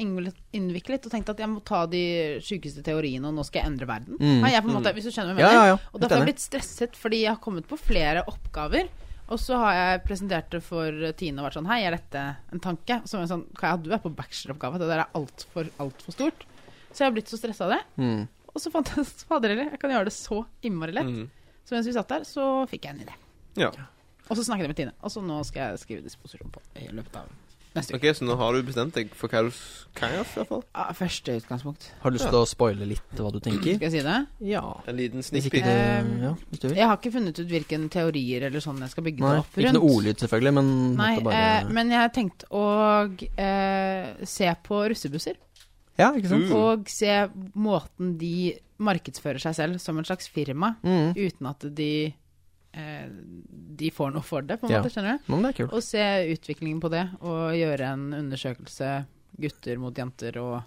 innviklet, og tenkt at jeg må ta de sjukeste teoriene, og nå skal jeg endre verden. Mm. Har jeg på en måte, hvis du skjønner hva jeg Ja, mener. ja, ja. Og da har jeg blitt stresset fordi jeg har kommet på flere oppgaver. Og så har jeg presentert det for Tine og vært sånn Hei, er dette en tanke? Og så var jeg sånn Kaja, du er på bacheloroppgave. Det der er altfor, altfor stort. Så jeg har blitt så stressa av det. Mm. Og så fant jeg Fader heller, jeg kan gjøre det så innmari lett. Mhm. Så mens vi satt der, så fikk jeg en idé. Ja. Og så snakket jeg med Tine. Og så nå skal jeg skrive disposisjon på i løpet av neste uke. Ok, Så nå har du bestemt deg for hva du s- kan gjøre, i hvert fall? Ah, første utgangspunkt. Har du lyst til å spoile litt hva du tenker? Skal jeg si det? Ja. En liten Hvis sneak peek. ikke det Um, Ja, hvis du vil. Jeg har ikke funnet ut hvilken teorier eller sånn jeg skal bygge Nei, det opp rundt. ikke noe ordlyd, selvfølgelig, men Nei, måtte bare eh, men jeg har tenkt å eh, se på russebusser. Uh. Ja, ikke sant? Mm. Og se måten de markedsfører seg selv som en slags firma, Mm. uten at de eh, De får noe for det, på en Ja. måte. Skjønner du? Men det er kult. Og se utviklingen på det, og gjøre en undersøkelse gutter mot jenter og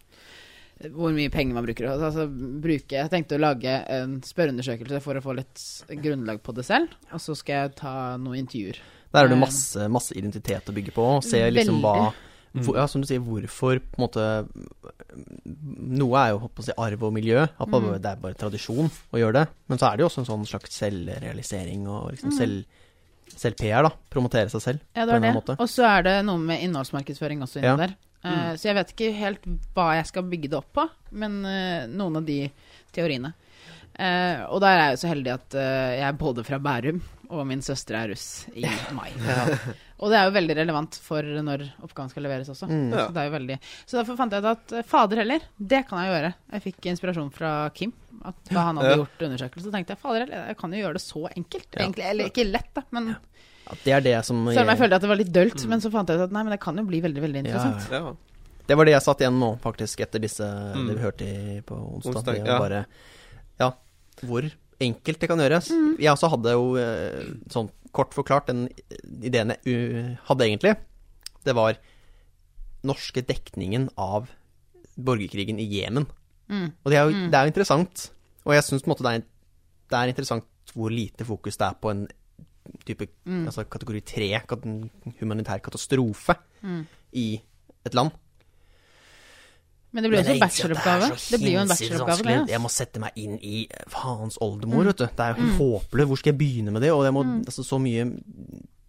eh, hvor mye penger man bruker. og Altså, bruke, jeg tenkte å lage en spørreundersøkelse for å få litt grunnlag på det selv. Og så skal jeg ta noen intervjuer. Der er det eh, masse, masse identitet å bygge på. og Se liksom hva Mm. hvor, Ja, som du sier, hvorfor på en måte Noe er jo holdt på å si arv og miljø. At man- Mm. Det er bare tradisjon å gjøre det. Men så er det jo også en sånn slags selvrealisering og liksom Mm. selv, selv-PR, da. Promotere seg selv. Ja, det på en var eller det. annen måte. Og så er det noe med innholdsmarkedsføring også inni Ja. Mm. der. Eh, Så jeg vet ikke helt hva jeg skal bygge det opp på, men eh, noen av de teoriene. Eh, og der er jeg jo så heldig at eh, jeg er både fra Bærum, og min søster er russ i mai. Og det er jo veldig relevant for når oppgaven skal leveres også. Mm. Så, det er jo veldig. så derfor fant jeg ut at eh, fader heller, det kan jeg gjøre. Jeg fikk inspirasjon fra Kim. At da han hadde Ja. gjort undersøkelse, så tenkte jeg fader heller, jeg kan jo gjøre det så enkelt. Egentlig, eller ikke lett, da, men At det er det som selv om jeg følte at det var litt dølt, men så fant jeg ut at nei, men det kan jo bli veldig veldig interessant. Mm. Ja, Ja. Det var det jeg satt igjen nå, faktisk, etter disse Mm. det vi hørte i- på onsdag. Onsdag, det å ja. Bare, ja, hvor enkelt det kan gjøres. Mm. Jeg også hadde jo eh, sånn kort forklart den ideen jeg u- hadde egentlig. Det var norske dekningen av borgerkrigen i Jemen. Mm. Og det er, jo, det er jo interessant. Og jeg syns på en måte det er, det er interessant hvor lite fokus det er på en type Mm. altså kategori tre, kat- en humanitær katastrofe, Mm. i et land. Men det blir jo Men også jeg en innser at bacheloroppgave. så Det blir jo en hinsides bacheloroppgave, vanskelig. det. Mm. altså. Jeg må sette meg inn i faens oldemor, vet du. Det er jo helt håpløst. Hvor skal jeg begynne med det? Og jeg må, Mm. altså, så mye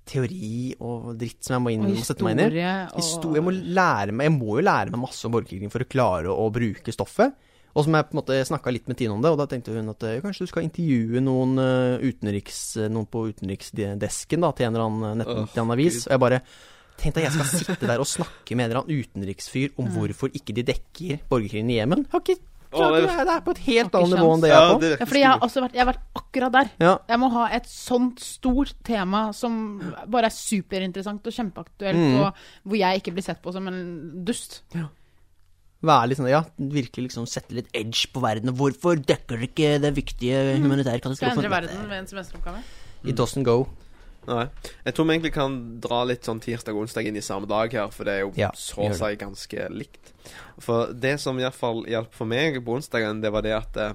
teori og dritt som jeg må, inn, Og må sette meg inn i. historie og- Histo- jeg, må lære meg, jeg må jo lære meg masse om borgerkrigen for å klare å bruke stoffet. Og som jeg på en måte snakka litt med Tine om det, og da tenkte hun at eh, kanskje du skal intervjue noen, eh, utenriks, eh, noen på utenriksdesken da, til en eller annen, nett, Åh, til en annen avis. Og jeg bare tenkte at jeg skal sitte der og snakke med en eller annen utenriksfyr Mm. om hvorfor ikke de dekker borgerkrigen i Jemen. Jeg har ikke Åh, det er- klart det, er- det er på Har et ikke helt annet nivå enn det jeg Ja, er på. det Ja, virker fordi jeg har skummelt. også vært, jeg har vært akkurat der. Ja, Jeg må ha et sånt stort tema som bare er superinteressant og kjempeaktuelt, Mm. og hvor jeg ikke blir sett på som en dust. være litt sånn, ja, virkelig liksom sette litt edge på verden. og Hvorfor dekker dere ikke den viktige Mm. humanitære Skal jeg katastrofen? endre verden med en semesteroppgave? It doesn't go. Nei. Jeg tror vi egentlig kan dra litt sånn tirsdag og onsdag inn i samme dag her, for det er jo Ja, så å gjør si ganske likt. For det som iallfall hjalp for meg på onsdagen, det var det at eh,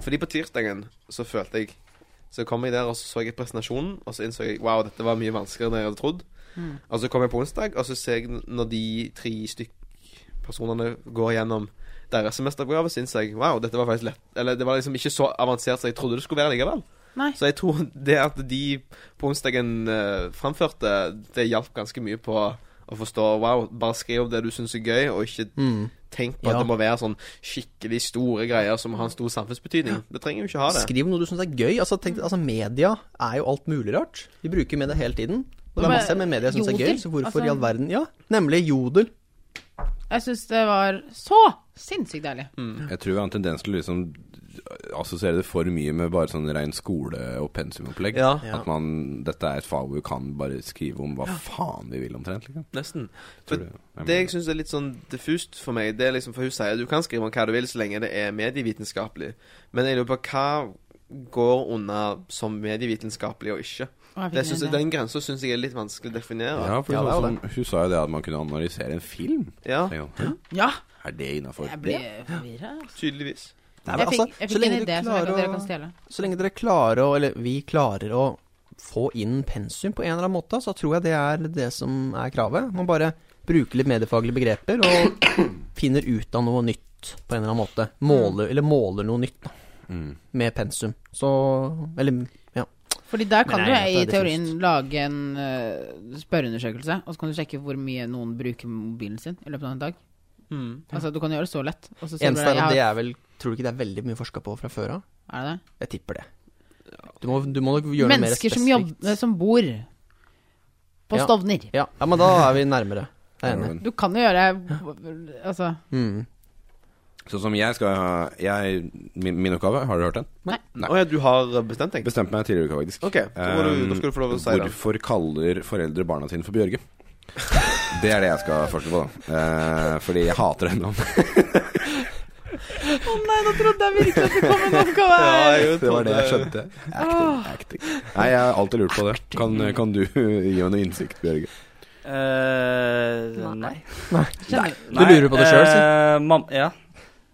Fordi på tirsdagen så følte jeg Så kom jeg der, og så så jeg presentasjonen, og så innså jeg wow, dette var mye vanskeligere enn jeg hadde trodd. Og så kom jeg på onsdag, og så ser jeg når de tre stykk personene går gjennom deres semesteroppgave, syns jeg wow, dette var faktisk lett. Eller det var liksom ikke så avansert som jeg trodde det skulle være likevel. Nei. Så jeg tror det at de på onsdagen eh, framførte, det hjalp ganske mye på å forstå Wow, bare skriv opp det du syns er gøy, og ikke Mm. tenk på at Ja. det må være sånn skikkelig store greier som har en stor samfunnsbetydning. Det trenger jo ikke ha det. Skriv noe du syns er gøy. Altså, tenk, Mm. altså, media er jo alt mulig rart. Vi bruker media hele tiden. Og det Men er masse med media jeg syns er gøy, Jodel, så hvorfor altså- i all verden Ja, nemlig Jodel. Jeg syns det var så sinnssykt deilig. Mm. Jeg tror vi har en tendens til å liksom assosiere det for mye med bare sånn rein skole- og pensumopplegg. Ja. At man, dette er et fag hvor vi kan bare skrive om hva faen vi vil omtrent. Liksom. Nesten. Tror Men du- jeg Det mener- jeg syns er litt sånn diffust for meg, det er liksom For hun sier du kan skrive om hva du vil så lenge det er medievitenskapelig. Men jeg lurer på hva går under som medievitenskapelig og ikke. Å, jeg fikk Det en synes jeg, idé. den grensa syns jeg er litt vanskelig å definere. Ja, for Ja, sånn, det er som- hun sa jo det at man kunne analysere en film. Ja, Tenker jeg, «Hm, Ja, Er det innafor? jeg ble forvirra. tydeligvis. Nei, men Jeg fikk, altså, jeg så fikk en lenge du idé som jeg, klarer kan- dere å- kan stjele. Så lenge dere klarer å, eller vi klarer å få inn pensum på en eller annen måte, så tror jeg det er det som er kravet. Man bare bruker litt mediefaglige begreper og finner ut av noe nytt på en eller annen måte. Mm. Måler, eller måler noe nytt da, Mm. med pensum. Så Eller Fordi der kan Men du jeg er jeg, i helt enig, teorien lage en eh, spørreundersøkelse, og så kan du sjekke hvor mye noen bruker mobilen sin i løpet av en dag. Altså, du kan gjøre det så lett. Og så ser du eneste er jeg at har- det er vel Tror du ikke det er veldig mye forska på fra før av? er det det? Jeg tipper det. Du må, du må nok gjøre noe mer Mennesker som, spesifikt. jobber, som bor på Ja. Stovner. Ja, ja, men da er vi nærmere. Jeg er enig. Men- Du kan jo gjøre Altså Mm. Sånn som jeg skal ha jeg, min, min oppgave, har du hørt den? Nei. Å ja, du har bestemt deg? Bestemte meg tidligere i uka, faktisk. OK, da, må du, da skal du få lov til å si det. Hvorfor kaller foreldre barna sine for Bjørge? Det er det jeg skal forske på, da. Eh, fordi jeg hater det navnet. Å nei, nå trodde jeg virkelig at det kom en oppgave her! Det var det Ah. jeg skjønte. Acting, acting. Nei, jeg har alltid lurt på det. Kan, eh, kan du gi meg noe innsikt, Bjørge? Eh, nei. Kjenner- Du lurer på det selv, si. eh, mam- ja.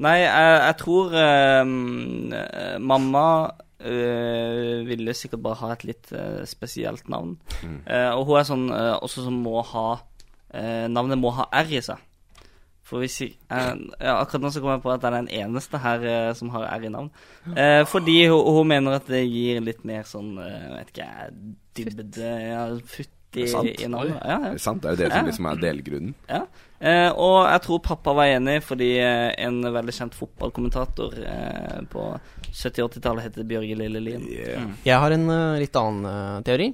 Nei, jeg, jeg tror eh, eh, mamma eh, ville sikkert bare ha et litt eh, spesielt navn. Mm. Eh, og hun er sånn eh, også som må ha eh, Navnet må ha R i seg. For hvis jeg, eh, ja, akkurat nå så kom jeg på at jeg er den eneste her eh, som har R i navn. Eh, fordi hun, hun mener at det gir litt mer sånn eh, Vet ikke jeg Dybde ja, Futt i, Sant. i navnet. Ja, ja. Er det sant? Det er jo det som liksom er delgrunnen. Eh, og jeg tror pappa var enig, fordi eh, en veldig kjent fotballkommentator eh, på 70-80-tallet heter Bjørge Lille Lien. Yeah. Mm. Jeg har en eh, litt annen eh, teori.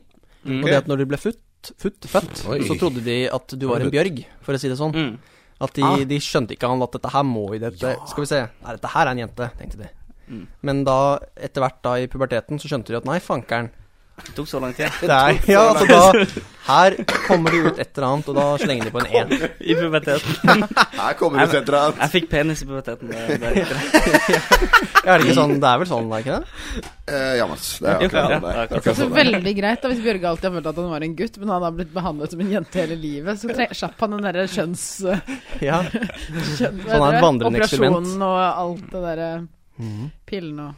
Mm. Og det at når du ble futt, futt, født, Oi. så trodde de at du var en bjørg, for å si det sånn. Mm. At de, Ah. de skjønte ikke han at dette her må i dette Skal vi se, nei, dette her er en jente, tenkte de. Mm. Men da, etter hvert da i puberteten, så skjønte de at nei, fankeren. Det tok så lang tid. Det er, ja, altså da Her kommer det ut et eller annet, og da slenger de på en én. I puberteten. Her kommer du, Setra. Jeg fikk penis i puberteten. Det, det Eh, er riktig. Er det ikke sånn? Det er vel sånn, er det ikke det? Eh, ja, Mats. Det er akkurat sånn det er. Det Akkurat er så sånn det er. veldig greit da Hvis Bjørge alltid har følt at han var en gutt, men han har blitt behandlet som en jente hele livet, så tre- slapp han den derre kjønns... Ja. kjønn, Så han er et vandrende eksperiment. Operasjonen og alt det derre Mhm. Pillene og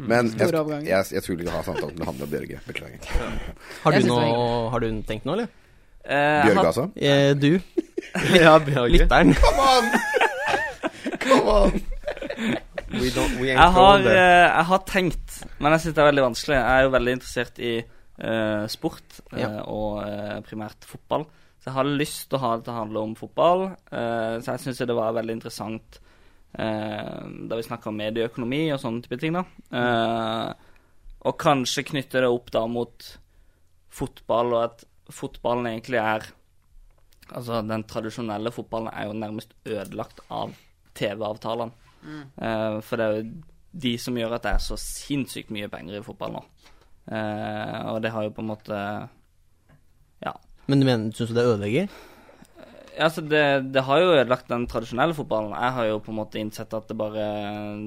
Men jeg, Store overganger. jeg, jeg skulle ikke ha samtalen med han og Bjørge. Beklager. Har Jeg du synes det noe var Har du tenkt noe, eller? Eh, jeg Bjørge, har- altså? Eh, du, Ja, Bjørge. lytteren. Come on! Come on! We, don't, we Jeg ain't har, going eh, there. jeg har tenkt, men jeg syns det er veldig vanskelig. Jeg er jo veldig interessert i eh, sport, eh, Ja. og eh, primært fotball. Så jeg hadde lyst til å ha det til å handle om fotball, eh, så jeg syns det var veldig interessant eh, da vi snakka om medieøkonomi og sånne type ting, da. Eh, og kanskje knytte det opp da mot fotball, og at fotballen egentlig er Altså, den tradisjonelle fotballen er jo nærmest ødelagt av TV-avtalene. Eh, for det er jo de som gjør at det er så sinnssykt mye penger i fotball nå. Eh, og det har jo på en måte Men du mener, syns du det ødelegger? ja, altså det, det har jo ødelagt den tradisjonelle fotballen. Jeg har jo på en måte innsett at det bare,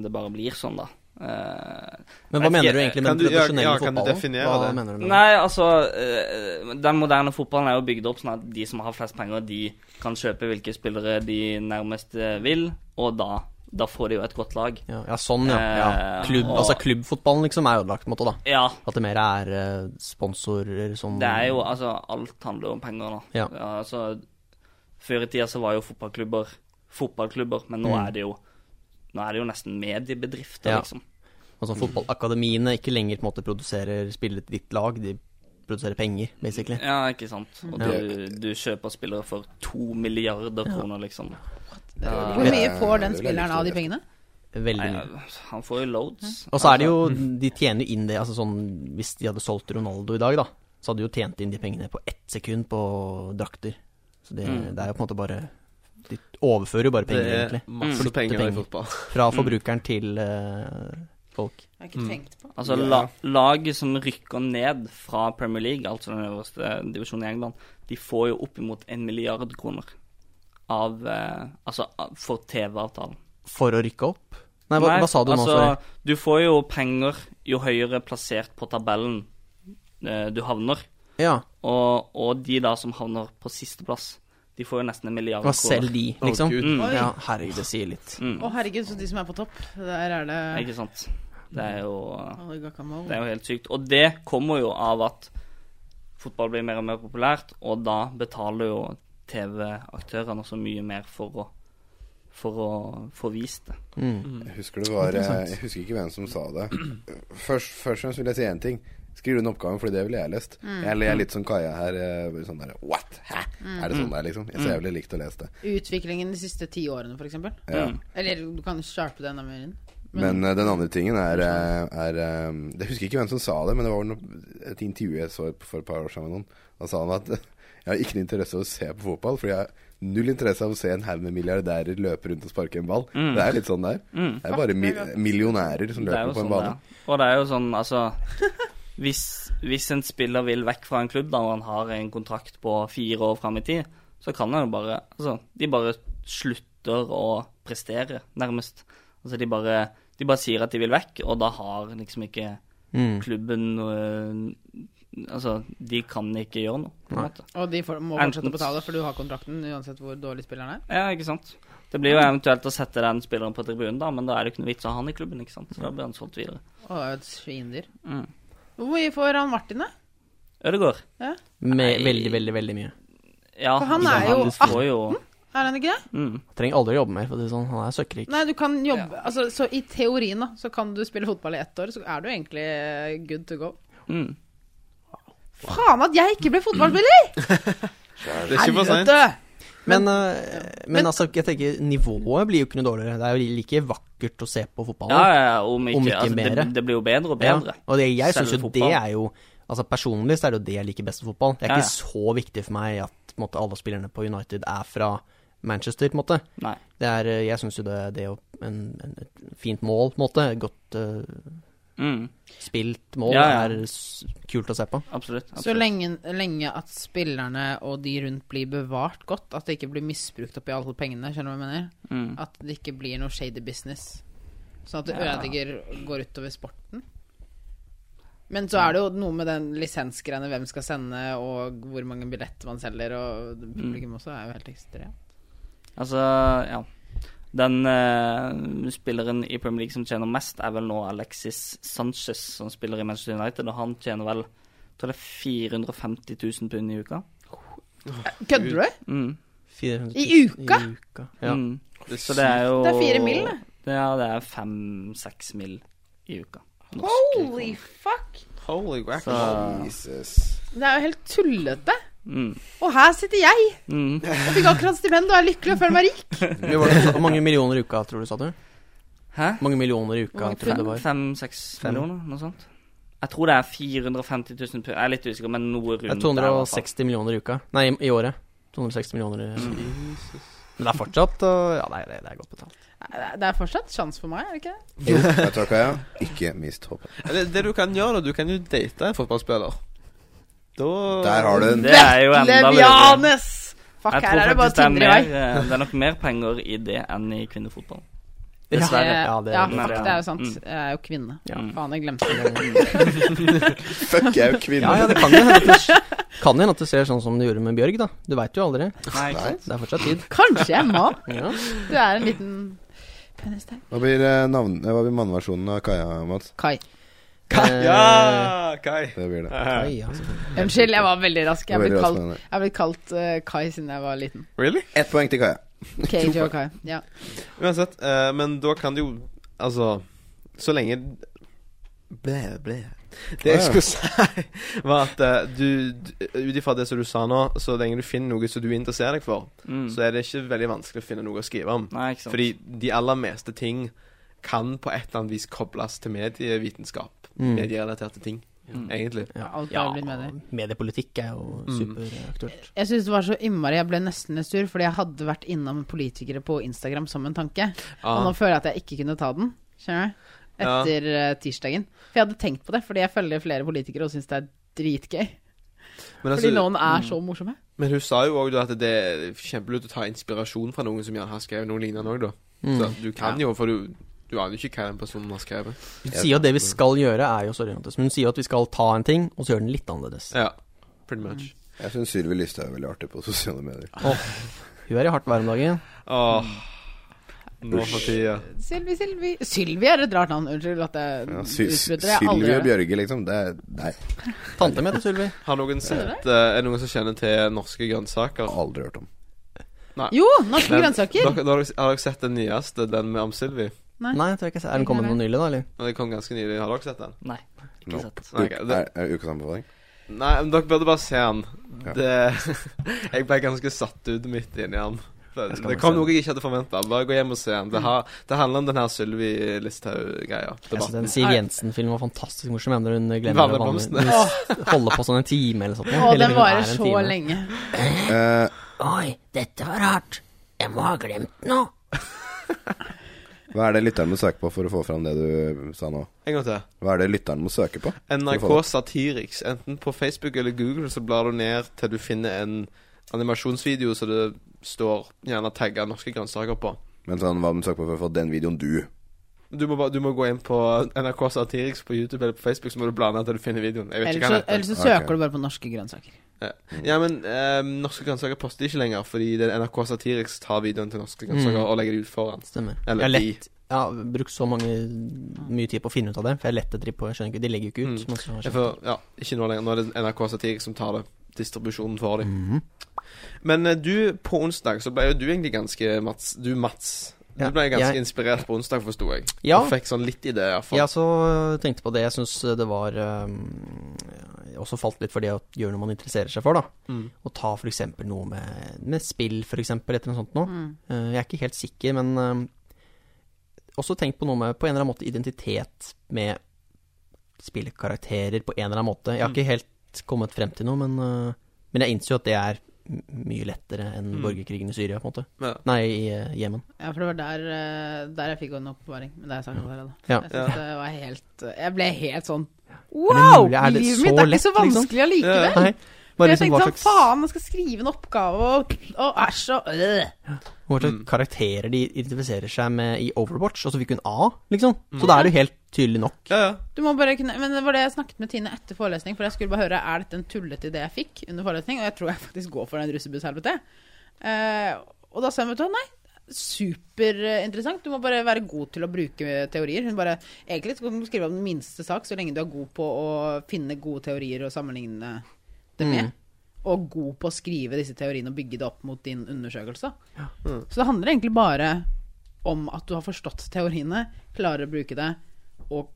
det bare blir sånn, da. Eh, Men hva Jeg mener vet du ikke. egentlig Kan med den du- ja, tradisjonelle ja, kan du fotballen? definere hva det? mener du med det? Nei, altså eh, Den moderne fotballen er jo bygd opp sånn at de som har flest penger, de kan kjøpe hvilke spillere de nærmest eh, vil, og da, da får de jo et godt lag. Ja, ja sånn, ja. ja. Eh, Klubb, og- altså klubbfotballen liksom er ødelagt, på en måte, da. Ja, At det mer er eh, sponsorer som det er jo altså Alt handler jo om penger nå. Ja. altså, før i tida så var jo fotballklubber fotballklubber, men nå Mm. er det jo Nå er det jo nesten mediebedrifter, Ja. liksom. Altså fotballakademiene ikke lenger på en måte produserer spillere til ditt lag, de produserer penger, basically. Ja, ikke sant. Og Ja. du, du kjøper spillere for to milliarder kroner, liksom. Ja. Hvor mye Ja, får det den vil jeg spilleren likt å av de vite. pengene? Veldig Nei, mye. han får jo loads. Og så er det jo De tjener jo inn det, altså sånn Hvis de hadde solgt Ronaldo i dag, da, så hadde de jo tjent inn de pengene på ett sekund på drakter. Så det, Mm. det er jo på en måte bare De overfører jo bare Det penger, er eh, egentlig. masse penger Mm. i Flyttepenger. fotball. Fra forbrukeren til eh, folk. Jeg har ikke tenkt på. Altså Ja. la, lag som rykker ned fra Premier League, altså den øverste divisjonen i England, de får jo oppimot en milliard kroner av eh, Altså av- for TV-avtalen. For å rykke opp? Nei, hva, hva sa du altså- nå? Sorry. Du får jo penger jo høyere plassert på tabellen eh, du havner. Ja, Og, og de da som havner på sisteplass, de får jo nesten en milliard det var selv de, Å, liksom. Gud. Mm, Oi. ja, herregud, det sier litt. mm, Å herregud, så de som er på topp, der er det Ikke sant. Det er jo Oligakamol. Det er jo helt sykt. Og det kommer jo av at fotball blir mer og mer populært, og da betaler jo TV-aktørene så mye mer for å for å få vist det. Mm. Jeg husker det var eh, Interessant. Jeg husker ikke hvem som sa det. Først, først og fremst vil jeg si én ting. Skriv den oppgaven, fordi det ville jeg lest. Jeg ler litt som Kaja her. eh, bare Sånn der, What? Hæ? Er det sånn der, liksom? Jeg ser jævlig likt å lese det. Utviklingen de siste ti årene, for eksempel. Ja. Mm. Eller du kan sharpe det enda mer inn. Men eh, den andre tingen er, eh, er eh, Jeg husker ikke hvem som sa det, men det var noe- et intervju jeg så for et par år siden med noen. Da sa han at jeg har ikke noe interesse av å se på fotball, fordi jeg har null interesse av å se en haug med milliardærer løpe rundt og sparke en ball. Det er litt sånn det er. Det er bare mi millionærer som Det er jo løper på sånn en det bane. er. Og det er jo sånn, altså hvis, hvis en spiller vil vekk fra en klubb da, og han har en kontrakt på fire år fram i tid, så kan han jo bare Altså, de bare slutter å prestere, nærmest. Altså, de bare, de bare sier at de vil vekk, og da har liksom ikke Mm. klubben øh, Altså, de kan ikke gjøre noe, på en Nei. måte. Og de får, må Enten- fortsette å betale, for du har kontrakten uansett hvor dårlig spilleren er. Ja, ikke sant. Det blir jo eventuelt å sette den spilleren på tribunen, da, men da er det ikke noe vits å ha han i klubben, ikke sant. Så da blir han solgt videre. Og er et svindyr. Mm. Hvor mye får han Martin, da? Ødegaard. Med Nei. veldig, veldig, veldig mye. Ja, For han ikke sant, er jo får jo Er han ikke det? mm, Trenger aldri å jobbe mer, for å si det sånn. Han er søkkrik. Nei, du kan jobbe Altså, så i teorien, da, så kan du spille fotball i ett år, så er du egentlig eh, good to go. mm. Faen at jeg ikke ble fotballspiller! Det er ikke for seint. Helvete! Men, eh, men, men- altså, jeg tenker nivået blir jo ikke noe dårligere. Det er jo like vakkert å se på fotball. Ja, ja, ja, om ikke, Om ikke altså, mere. det, det blir jo bedre og bedre. Og det, jeg syns Selve jo det fotballen. er jo Altså Personlig så er det jo det jeg liker best med fotball. Det er Ja, ikke så viktig for meg at på en måte, alle spillerne på United er fra Manchester, på en måte. Nei. Det er, eh, jeg syns jo det, det er jo en, en, et fint mål, på en måte. Et Godt eh, Mm, spilt mål. Ja, ja. Det er s- kult å se på. absolutt. absolutt. Så lenge, lenge at spillerne og de rundt blir bevart godt, at det ikke blir misbrukt oppi alle pengene, skjønner du hva jeg mener? Mm. At det ikke blir noe shady business. Sånn at det Ja. ødelegger går utover sporten. Men så er det jo noe med den lisensgreiene, hvem skal sende, og hvor mange billetter man selger, og publikum også er jo helt ekstremt. Altså, ja. Den eh, spilleren i Premier League som tjener mest, er vel nå Alexis Sanchez, som spiller i Manchester United, og han tjener vel jeg tror det er 450 000 pund i uka. Kødder du? Mm. 400 I uka? I uka. Ja. Mm. Så det er jo Det er fire mil, det. Ja, det er fem-seks mil i uka. Norske Holy kroner. fuck! Holy wack. Så Jesus. Det er jo helt tullete. mm. Og her sitter jeg Mm. og fikk akkurat stipend og er lykkelig og føler meg rik. Hvor var det- Hvor mange millioner i uka, tror du, sa du? Hæ? Hvor Mange millioner i Hvor uka, mange tror jeg det var. Fem-seks Fem. millioner, noe sånt. Jeg tror det er 450 000 pund. Jeg er litt usikker, men noe rundt Det der, er i hvert fall. 260 millioner i uka. Nei, i, i året. 260 millioner i Mm. Men det er fortsatt øh, Ja, nei, det, det er godt betalt. Nei, Det er fortsatt sjans for meg, er det ikke det? Jo, jeg tror ikke jeg. Ikke mist håpet. Det, det du kan gjøre, da, du kan jo date en fotballspiller. Da Der har du den. Det er jo enda bedre. Levianes! Fuck, Jeg her tror er det bare faktisk det er, Tinder i vei. mer, eh, det er nok mer penger i det enn i kvinnefotball. Dessverre. Eh, Ja, det ja, er men fuck, det er- det er jo sant. mm. Jeg er jo kvinne. Ja. Faen, jeg glemte det. Fuck, jeg er jo kvinne. ja, ja, det kan jo hende at du, kan jo hende at du ser sånn som du gjorde med Bjørg, da. Du veit jo aldri. Nei, ikke sant? Det er fortsatt tid. Kanskje jeg er mann. Ja. Du er en liten penis der. Hva blir, eh, navn, eh, hva blir mannversjonen av Kaja, Mats? Kai. Eh, Ja, Kai. Det blir det. Kai, ja, selvfølgelig. Unnskyld, jeg var veldig rask. Jeg har Veldig blitt rask kalt, med det. jeg har blitt kalt eh, Kai siden jeg var liten. Really? Ett poeng til Kaja. Cage og Kai. Ja. Uansett, eh, men da kan det jo Altså, så lenge Ble, ble Det jeg skulle si, var at eh, du d- Ut ifra det som du sa nå, så lenge du finner noe som du interesserer deg for, Mm. så er det ikke veldig vanskelig å finne noe å skrive om. Nei, ikke sant. Fordi de aller meste ting kan på et eller annet vis kobles til medievitenskap. Mm. Medierelaterte ting, Mm. egentlig. Alt er blitt medier. mediepolitikk er jo Mm. superaktuelt. Jeg syns det var så innmari Jeg ble nesten litt sur, fordi jeg hadde vært innom politikere på Instagram som en tanke. Og Ah, nå føler jeg at jeg ikke kunne ta den. Skjønner du? Etter eh, tirsdagen. For jeg hadde tenkt på det, fordi jeg følger flere politikere og syns det er dritgøy. men, Fordi altså, noen Mm. er så morsomme. men hun sa jo òg at det er kjempelurt å ta inspirasjon fra noen som gjerne har skrevet noe lignende òg, da. Så du kan jo, for du, du aner jo ikke hva den personen har skrevet. Hun sier at det vi skal gjøre, er jo sorry, Mathias, men hun sier at vi skal ta en ting, og så gjøre den litt annerledes. Ja, pretty much. Jeg syns Sylvi Lysthaug er veldig artig på sosiale medier. Hun er i hardt vær om dagen. Mm. Åh. Mm. Nå for tida. Sylvi, Sylvi Sylvi er et rart navn. Unnskyld at jeg Ja, Sy- utbryter. Jeg har aldri Sylvi hørt og Mm, det. Bjørge, liksom. Det er Nei, Tante mi heter Sylvi. Har noen sett eh, Er det noen som kjenner til norske grønnsaker? aldri hørt om. Jo, norske Men grønnsaker. Dere, dere, har dere sett den nyeste, den med om Sylvi? Nei, jeg tror ikke jeg Er den kommet noe nylig, da, eller? Den kom ganske nylig. Har dere sett den? Nei, ikke Nope. sant. Nei, ok, Er, det- er ukas anbefaling? Nei, men dere burde bare se den. Ja. Det Jeg ble ganske satt ut midt inni den. Det, Jeg skal det bare kom se den. noe jeg ikke hadde forventa. Bare gå hjem og se den. Det, har, det handler om den her Sylvi Listhaug-greia. Jeg synes den Debatten. Siv Jensen-filmen var fantastisk morsom. Jeg mener hun glemmer å Vanlig blomsten. vanligvis holde på sånn en time eller sånt. Å, Eller den hun er varer en så time. lenge. Eh, Oi, dette var rart. Jeg må ha glemt noe. hva er det lytteren må søke på for å få fram det du sa nå? En gang til. Hva er det lytteren må søke på? NRK Satiriks. Enten på Facebook eller Google så blar du ned til du finner en animasjonsvideo som det står gjerne tagga norske grønnsaker på. Men sånn, hva må du søke på for å få den videoen du Du må, bare, du må gå inn på NRK Satiriks på YouTube eller på Facebook, så må du bla ned til du finner videoen. Jeg vet Ellers ikke hva så, den heter. ellers så Ok. søker du bare på norske grønnsaker. Ja, ja men ehm, norske grønnsaker poster ikke lenger, fordi det er NRK Satiriks tar videoen til norske grønnsaker og legger det ut foran. Stemmer. Eller jeg har de. Mm. lett Jeg har brukt så mange, mye tid på å finne ut av det, for jeg lette dritt på Jeg skjønner ikke, de legger jo ikke ut. Mm. men så har jeg Ja, for, ja, ikke nå lenger. Nå er det NRK Satiriks som tar det. Distribusjonen for dem. Mhm. Men eh, du, på onsdag så ble jo du egentlig ganske Mats. Du, Mats. Du Ja, ble ganske jeg- inspirert på onsdag, forsto jeg. Ja. Du fikk sånn litt ideer, iallfall. Jeg også tenkte på det. Jeg syns det var um, Jeg også falt litt for det å gjøre noe man interesserer seg for, da. Mm. Å ta f.eks. noe med, med spill, f.eks., eller noe sånt noe. Mm. Eh, jeg er ikke helt sikker, men eh, også tenk på noe med på en eller annen måte identitet med spillkarakterer på en eller annen måte. Jeg Mm. har ikke helt kommet frem til noe, men, eh, men jeg innser jo at det er m- mye lettere enn Mm. borgerkrigen i Syria, på en måte. Ja. Nei, i eh, Jemen. Ja, for det var der, eh, der jeg fikk en oppbevaring. Men det har jeg sagt allerede. Ja. Jeg synes det var helt Jeg ble helt sånn det Wow! mulig? Er det Livet så mitt er lett, ikke så liksom? vanskelig allikevel. Nei, For bare jeg liksom hva tenkte sånn slags, Faen, jeg skal skrive en oppgave, og, og æsj og øh. hva slags karakterer de identifiserer seg med i Overwatch, og så fikk hun A, liksom. Så da er det jo helt tydelig nok. ja, ja. Du må bare kunne Men det var det jeg snakket med Tine etter forelesning, for jeg skulle bare høre er dette en tullete idé jeg fikk under forelesning, og jeg tror jeg faktisk går for den russebusshelvete. Eh, og da sa hun, vet du hva, nei, superinteressant, du må bare være god til å bruke teorier. Hun bare Egentlig skal du skrive om den minste sak, så lenge du er god på å finne gode teorier og sammenligne det Mm. med. Og god på å skrive disse teoriene og bygge det opp mot din undersøkelse. Så det handler egentlig bare om at du har forstått teoriene, klarer å bruke det, og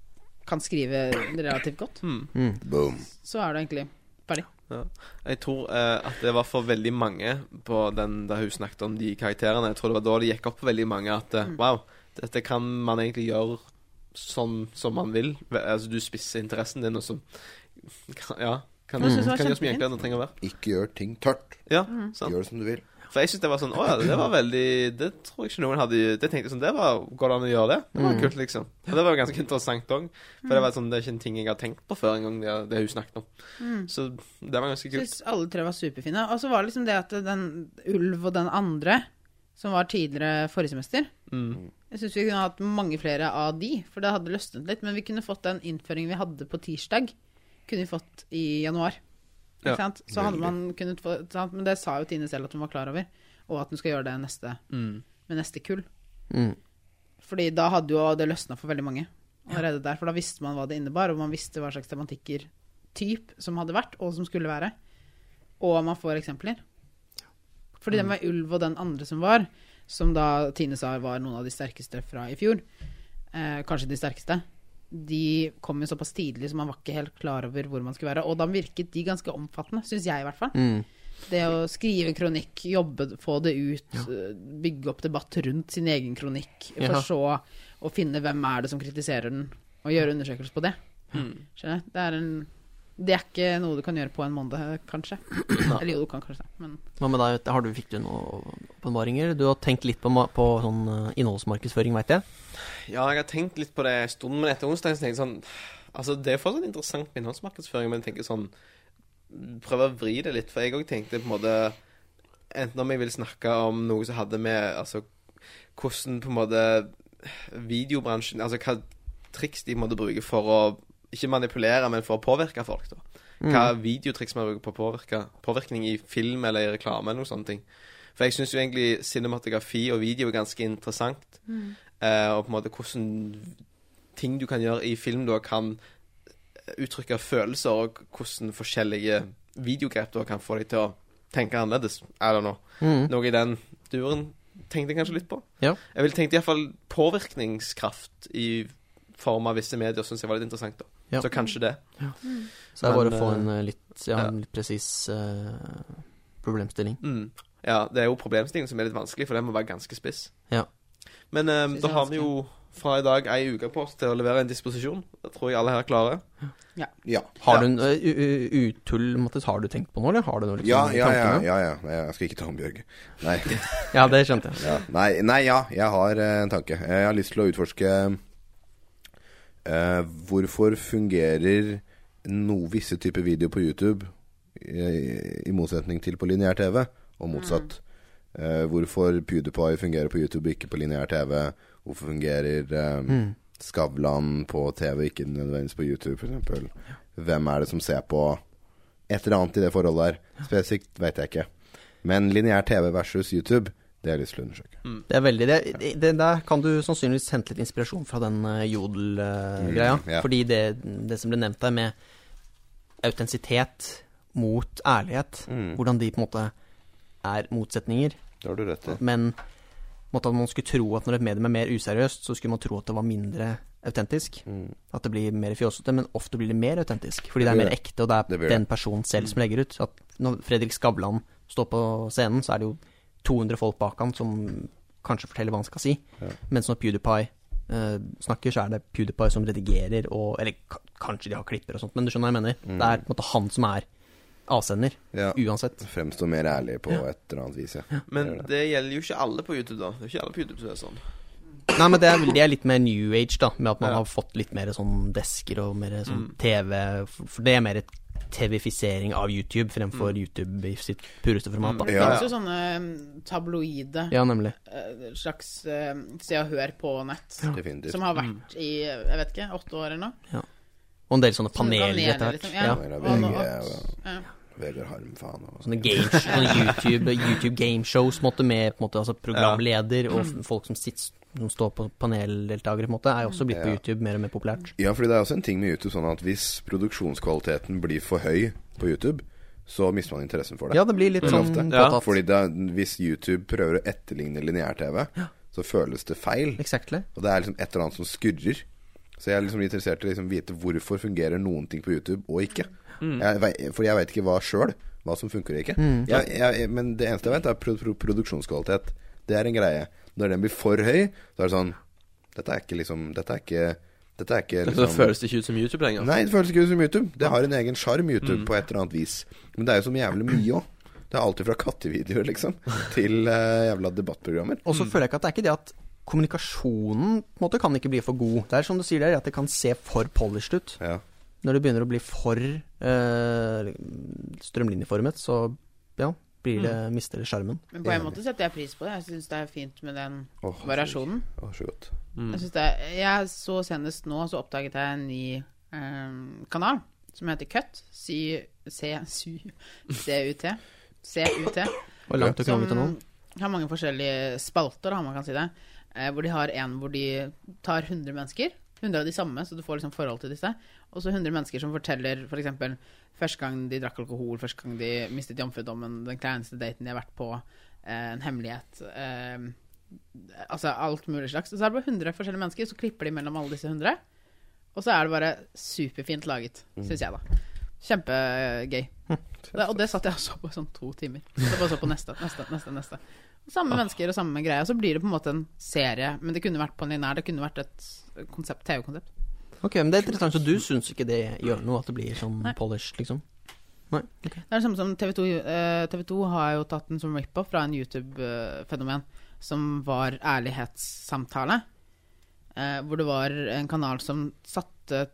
kan skrive relativt godt. Boom. Så er du egentlig ferdig. Ja. Jeg tror eh, at det var for veldig mange på den der hun snakket om de karakterene. Jeg tror det var da det gikk opp for veldig mange at Mm. eh, wow, dette kan man egentlig gjøre som, som man vil. Ve- Altså du spisser interessen din, og så kan- Ja. Kan, Jeg synes det var kan gjøre så mye kjempefint. Mm. enklere enn det trenger å være. Ikke gjør ting tørt. Ja, sant. Gjør det som du vil. For jeg syns det var sånn Å ja, det var veldig Det tror jeg ikke noen hadde Det tenkte jeg sånn Det var Går det an å gjøre det? Det Mm. var kult, liksom. Og det var jo ganske interessant òg. For det var sånn Det er ikke en ting jeg har tenkt på før engang, det, det hun snakket om. Mm. Så det var ganske kult. Syns alle tre var superfine. Og så var det liksom det at den Ulv og den andre, som var tidligere forrige semester Mm. Jeg syns vi kunne hatt mange flere av de, for det hadde løsnet litt. Men vi kunne fått den innføringen vi hadde på tirsdag, kunne vi fått i januar. Ikke Ja, sant? Så hadde man kunnet få ikke sant? Men det sa jo Tine selv at hun var klar over, og at hun skal gjøre det neste, med neste kull. Mm. Fordi da hadde jo det løsna for veldig mange allerede der. For da visste man hva det innebar, og man visste hva slags tematikker typ som hadde vært, og som skulle være. Og man får eksempler. Fordi den med ulv og den andre som var, som da Tine sa var noen av de sterkeste fra i fjor, eh, kanskje de sterkeste, de kom jo såpass tidlig, så man var ikke helt klar over hvor man skulle være. Og da virket de ganske omfattende, syns jeg i hvert fall. Mm. Det å skrive kronikk, jobbe, få det ut, eh, bygge opp debatt rundt sin egen kronikk, Ja. for så å finne hvem er det som kritiserer den, og gjøre undersøkelser på det. Mm. Skjønner jeg? Det er en det er ikke noe du kan gjøre på en måned, kanskje. Eller jo, du kan kanskje det, men Hva med deg? Har du, fikk du noen åpenbaringer? Du har tenkt litt på, ma- på sånn eh, innholdsmarkedsføring, veit jeg. Ja, jeg har tenkt litt på det en stund, men etter onsdag så tenkte jeg sånn Altså, det er fortsatt interessant med innholdsmarkedsføring, men jeg tenker sånn Prøv å vri det litt, for jeg òg tenkte på en måte Enten om jeg vil snakke om noe som hadde med Altså hvordan på en måte videobransjen Altså hva triks de måtte bruke for å Ikke manipulere, men for å påvirke folk, da. Mm. Hva Mm. videotriks man bruker på å påvirke påvirkning i film eller i reklame eller noen sånne ting. For jeg syns jo egentlig cinematografi og video er ganske interessant. Mm. Eh, og på en måte hvordan ting du kan gjøre i film da kan uttrykke følelser, og hvordan forskjellige videogrep da kan få deg til å tenke annerledes. I don't know. Mm. Noe i den duren tenkte jeg kanskje litt på. Ja. Jeg ville tenkt iallfall påvirkningskraft i form av visse medier, syns jeg var litt interessant, da. Ja. Så kanskje det. Så det er bare Men, å få eh, en eh, litt, ja, ja. en litt presis eh, problemstilling. Mm. Ja, det er jo problemstillingen som er litt vanskelig, for den må være ganske spiss. Ja. Men eh, Synes da jeg har vi jo fra i dag ei uke på oss til å levere en disposisjon. Det tror jeg alle her klarer. Ja. Har du en eh, u- u- utull, Mattis, har du tenkt på noe, eller har du noe liksom, Ja, i ja, ja, tankene? ja, ja. Nei, Jeg skal ikke ta om Bjørge. Nei. Ja, det skjønte jeg. Ja. Nei, nei, ja. Jeg har eh, en tanke. Jeg har lyst til å utforske eh, hvorfor fungerer no, visse typer video på YouTube eh, i motsetning til på lineær TV, og motsatt. Eh, hvorfor PewDiePie fungerer på YouTube, ikke på lineær TV. Hvorfor fungerer eh, Skavlan på TV, ikke nødvendigvis på YouTube, f.eks. Hvem er det som ser på et eller annet i det forholdet her? Spesifikt vet jeg ikke. Men lineær TV versus YouTube, det har jeg lyst til å undersøke. Det er veldig, det, det, Der kan du sannsynligvis hente litt inspirasjon fra den eh, Jodel-greia. Mm, ja. Fordi det, det som ble nevnt der med autentisitet mot ærlighet, Mm. hvordan de på en måte er motsetninger. Det har du rett i. Men på en måte at man skulle tro at når et medium er mer useriøst, så skulle man tro at det var mindre autentisk. At det blir mer fjåsete, men ofte blir det mer autentisk. Fordi det er blir mer Mm. det. ekte, og det Det er blir den personen selv som legger ut. At når Fredrik Skavlan står på scenen, så er det jo 200 folk bak han som kanskje forteller hva han skal si. Mens når PewDiePie eh, snakker, så er det PewDiePie som redigerer og Eller ka- kanskje de har klipper og sånt, men du skjønner hva jeg mener. Det er på en måte han som er avsender, Mm. Ja. uansett. Fremstå mer ærlig på et eller annet vis, ja. Men det gjelder jo ikke alle på YouTube, da. Det er ikke alle på YouTube som er sånn. Nei, men det er, det er litt mer new age, da. Med at man Ja. har fått litt mer sånn desker og mer sånn TV. For for det er mer et TV-fisering av YouTube fremfor YouTube i sitt pureste format, da. Det Ja, finnes jo sånne mm, tabloide Ja, nemlig. eh, slags eh, Se og Hør på nett, Definitivt. som har vært i jeg vet ikke, åtte år eller noe. Og en del sånne Sånne paneler paneler, etter hvert. liksom, Ja. ja. Paneler, Og nå- VG, ja. Vegard Harm, faen. Og Sånne, game, sånne YouTube, YouTube gameshows måte med på en måte, altså programleder og f- folk som, sitter, som står på paneldeltakere, på en måte, er også blitt på Ja. YouTube mer og mer populært. Ja, fordi det er også en ting med YouTube sånn at hvis produksjonskvaliteten blir for høy på YouTube, så mister man interessen for det. Ja, det blir litt sånn ofte. påtatt. Fordi det, er- hvis YouTube prøver å etterligne lineær-TV, så føles det feil. Exactly. Og det er liksom et eller annet som skurrer. Så jeg er liksom litt interessert i å liksom vite hvorfor fungerer noen ting på YouTube og ikke. Mm. Jeg vei- for jeg veit ikke hva sjøl, hva som funker og ikke. Jeg, jeg, men det eneste jeg vet, er pro pro produksjonskvalitet. Det er en greie. Når den blir for høy, da er det sånn Dette er ikke liksom Dette er ikke Dette er ikke Så liksom føles det ikke ut som YouTube lenger. Nei, det føles ikke ut som YouTube. Det har en egen sjarm, Mm. YouTube, på et eller annet vis. Men det er jo som jævlig mye òg. Det er alltid fra kattevideoer, liksom, til eh, jævla debattprogrammer. Og så føler jeg ikke at det er ikke det at kommunikasjonen på en måte kan ikke bli for god. Det er som du sier der, at det kan se for polished ut. Ja. Når det begynner å bli for eh, strømlinjeformet, så ja, blir det, mister det sjarmen. Men på en måte setter jeg pris på det. Jeg syns det er fint med den Åh, variasjonen. Å, så godt. Jeg, synes det er, jeg så senest nå så oppdaget jeg en ny eh, kanal som heter Cut. Sy, C, sy, CUT. CUT. Hvor langt du kan komme til nå? Som har mange forskjellige spalter, da, om man kan si det. Eh, hvor de har en hvor de tar 100 mennesker. 100 av de samme, så du får liksom forhold til disse. Og så 100 mennesker som forteller f.eks. eksempel første gang de drakk alkohol, første gang de mistet jomfrudommen, den kleineste daten de har vært på, eh, en hemmelighet. Eh, altså alt mulig slags. Og så er det bare 100 forskjellige mennesker, så klipper de mellom alle disse 100. Og så er det bare superfint laget, Mm. syns jeg, da. Kjempegøy. Det, og det satt jeg og så på i sånn to timer. Så bare så på neste, neste, neste. neste Samme mennesker og samme greie. Og så blir det på en måte en serie. Men det kunne vært på en linær. Det kunne vært et konsept, TV-konsept. Ok, men det er interessant, så du syns ikke det gjør noe at det blir sånn polished, liksom? Nei. ok. Det er det samme som TV 2, TV 2 har jo tatt den som rip-off fra en YouTube-fenomen som var ærlighetssamtale. eh, hvor det var en kanal som satte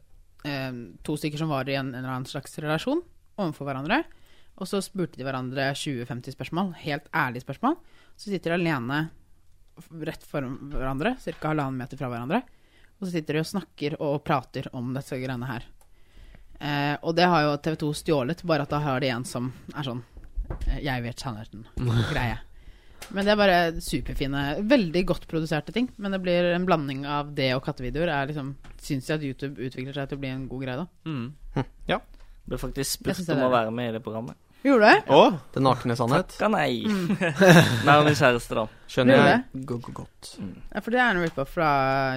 eh, to stykker som var i en, en eller annen slags relasjon, overfor hverandre. Og så spurte de hverandre 20-50 spørsmål, helt ærlige spørsmål. Så sitter de alene f- rett foran hverandre, ca. halvannen meter fra hverandre. Og så sitter de og snakker og prater om disse greiene her. Eh, og det har jo TV 2 stjålet, bare at da har de en som er sånn eh, Jeg vet sannheten-greie. Men det er bare superfine, veldig godt produserte ting. Men det blir en blanding av det og kattevideoer. Er liksom, Syns jeg at YouTube utvikler seg til å bli en god greie, da. Ja. Ble faktisk Jeg spurt synes det om er å det. være med i det programmet. Gjorde du det? Å, Den nakne sannhet. Takka nei. Mm. Nei, min kjæreste, da. Skjønner Gjør jeg go- go- godt. Ja, for det er en rip-off fra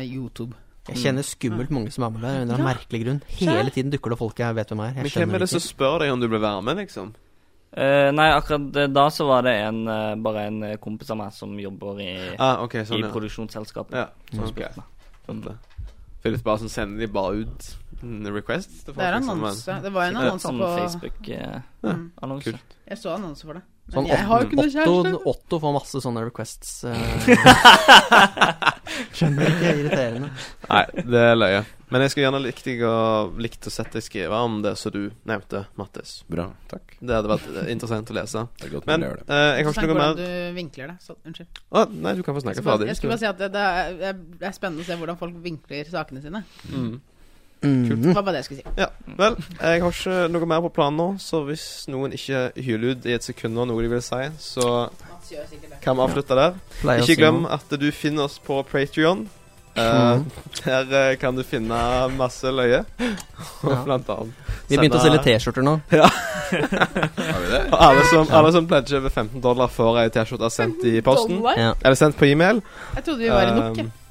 YouTube. Jeg kjenner skummelt mange som er med der, av en eller annen merkelig grunn. Hele tiden dukker det folk jeg vet hvem er. men Jeg hvem skjønner er det som ikke. spør deg om du blir med, liksom? Eh, nei, akkurat eh, da så var det en, eh, bare en eh, kompis av meg som jobber i, Ah, ok, sånn, i ja. produksjonsselskapet. Mm. ja. Mm. Sånn, ok. Skjønte. Philip Barsen sender de bare ut en request til folk, Det er liksom, men- annonse. Det var en Ja, annonse Sånn på Mm. Facebook-annonse. Jeg så annonse for det. Men Sånn jeg har jo ikke noe Otto, kjæreste. Otto får masse sånne requests. eh. skjønner ikke. Irriterende. Nei, det er løye. Men jeg skulle gjerne likt, deg å, likt å sett deg skrive om det som du nevnte, Mattis. Bra. Takk. Det hadde vært eh, interessant å lese. Det er godt Men men, gjør det. eh, jeg har ikke noe Hvordan mer Du vinkler det. Så, unnskyld. Å, Nei, du kan få Jeg snakke skulle, ferdig. bare, jeg skulle bare si at det, det, er, det er spennende å se hvordan folk vinkler sakene sine. Mm. Det Mm. var bare det jeg skulle si. Ja, vel. Jeg har ikke noe mer på planen nå, så hvis noen ikke hyler ut i et sekund av noe de vil si, så Mats gjør sikkert det. kan vi avslutte der. Pleier å Ikke si glem noe. at du finner oss på Patrion. Mhm. der eh, kan du finne masse løye. Og Ja. blant annet Vi begynte å selge T-skjorter nå. Har vi det? Og alle som, alle som pledger over 15 dollar, får ei T-skjorte sendt i posten. Dollar? Ja. Eller sendt på e-mail. Jeg trodde vi var i nok. jeg. Um,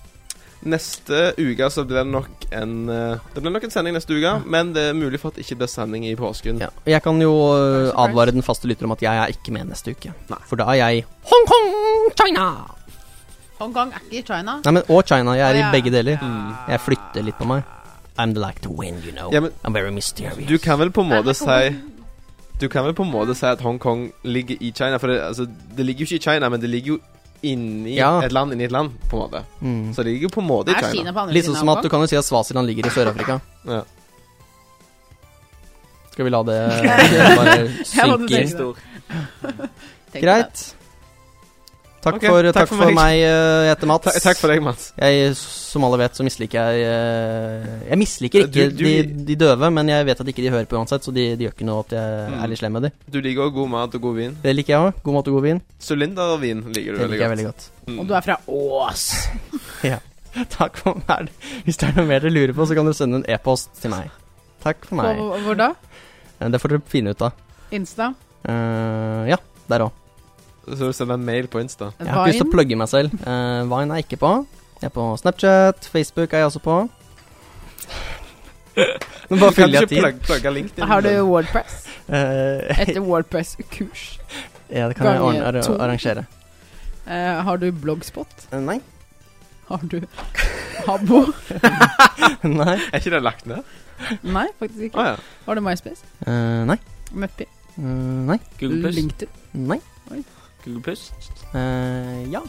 Neste uke så blir det nok en eh, Det blir nok en sending neste uke, men det er mulig for at det ikke blir sending i påsken. Ja. og Jeg kan jo eh, Surprise. advare den faste lytter om at jeg er ikke med neste uke. Nei. For da er jeg Hongkong, China! Hongkong er ikke i China. Nei, men Og China. Jeg er Ja. i begge deler. Ja. Jeg flytter litt på meg. I'm like the wind, you know. Ja, men I'm very mysterious. du kan vel på en Nei, men måte si Hongkong- Du kan vel på en måte si at Hongkong ligger i Kina. For det, altså, det ligger jo ikke i Kina, men det ligger jo inni Ja. et land inni et land, på en måte. Mm. Så det ligger jo på en måte i Er Kina. Kina på andre Litt sånn siden som av at du Hongkong? kan jo si at Swaziland ligger i Sør-Afrika. Ja. Skal vi la det bare måtte synke tenke i? det. Tenk på det. Greit. Takk, Ok, for, takk takk for for, meg. meg. eh, Jeg heter Mats. Ta- takk for deg, Mats. Jeg, som alle vet, så misliker jeg eh, Jeg misliker ikke Du- du- de, de døve, men jeg vet at ikke de hører på uansett, så de, de gjør ikke noe at jeg Mm. er litt slem med dem. Du liker også god mat og god vin. Det liker jeg òg. God mat og god vin. Sylindervin liker du Det liker jeg veldig godt. veldig godt. Mm. Og du er fra Ås. Takk for meg. Hvis det er noe mer dere lurer på, så kan dere sende en e-post til meg. Takk for På, meg. hvor da? Eh, Det får dere finne ut av. Insta? Eh, ja, der òg. Så du sender en mail på Insta. Jeg har ikke lyst til å Vine? plugge meg selv. Eh, Vine er jeg ikke på. Jeg er på Snapchat, Facebook er jeg også på. Du Men bare kan fyller ikke jeg tid. plugge, plugge LinkedIn. Har du Wordpress? Eh, Etter Wordpress-kurs. ja, det kan jeg Gange ordne, ar to. arrangere. Eh, har du bloggspot? Eh, nei. Har du Habbo? nei. Er ikke det lagt ned? Nei, faktisk Å ikke. ja. Har du MySpace? Eh, nei. Muppy? Eh, nei. Google Pluss. LinkedIn? Nei. Google Plus. Eh, ja.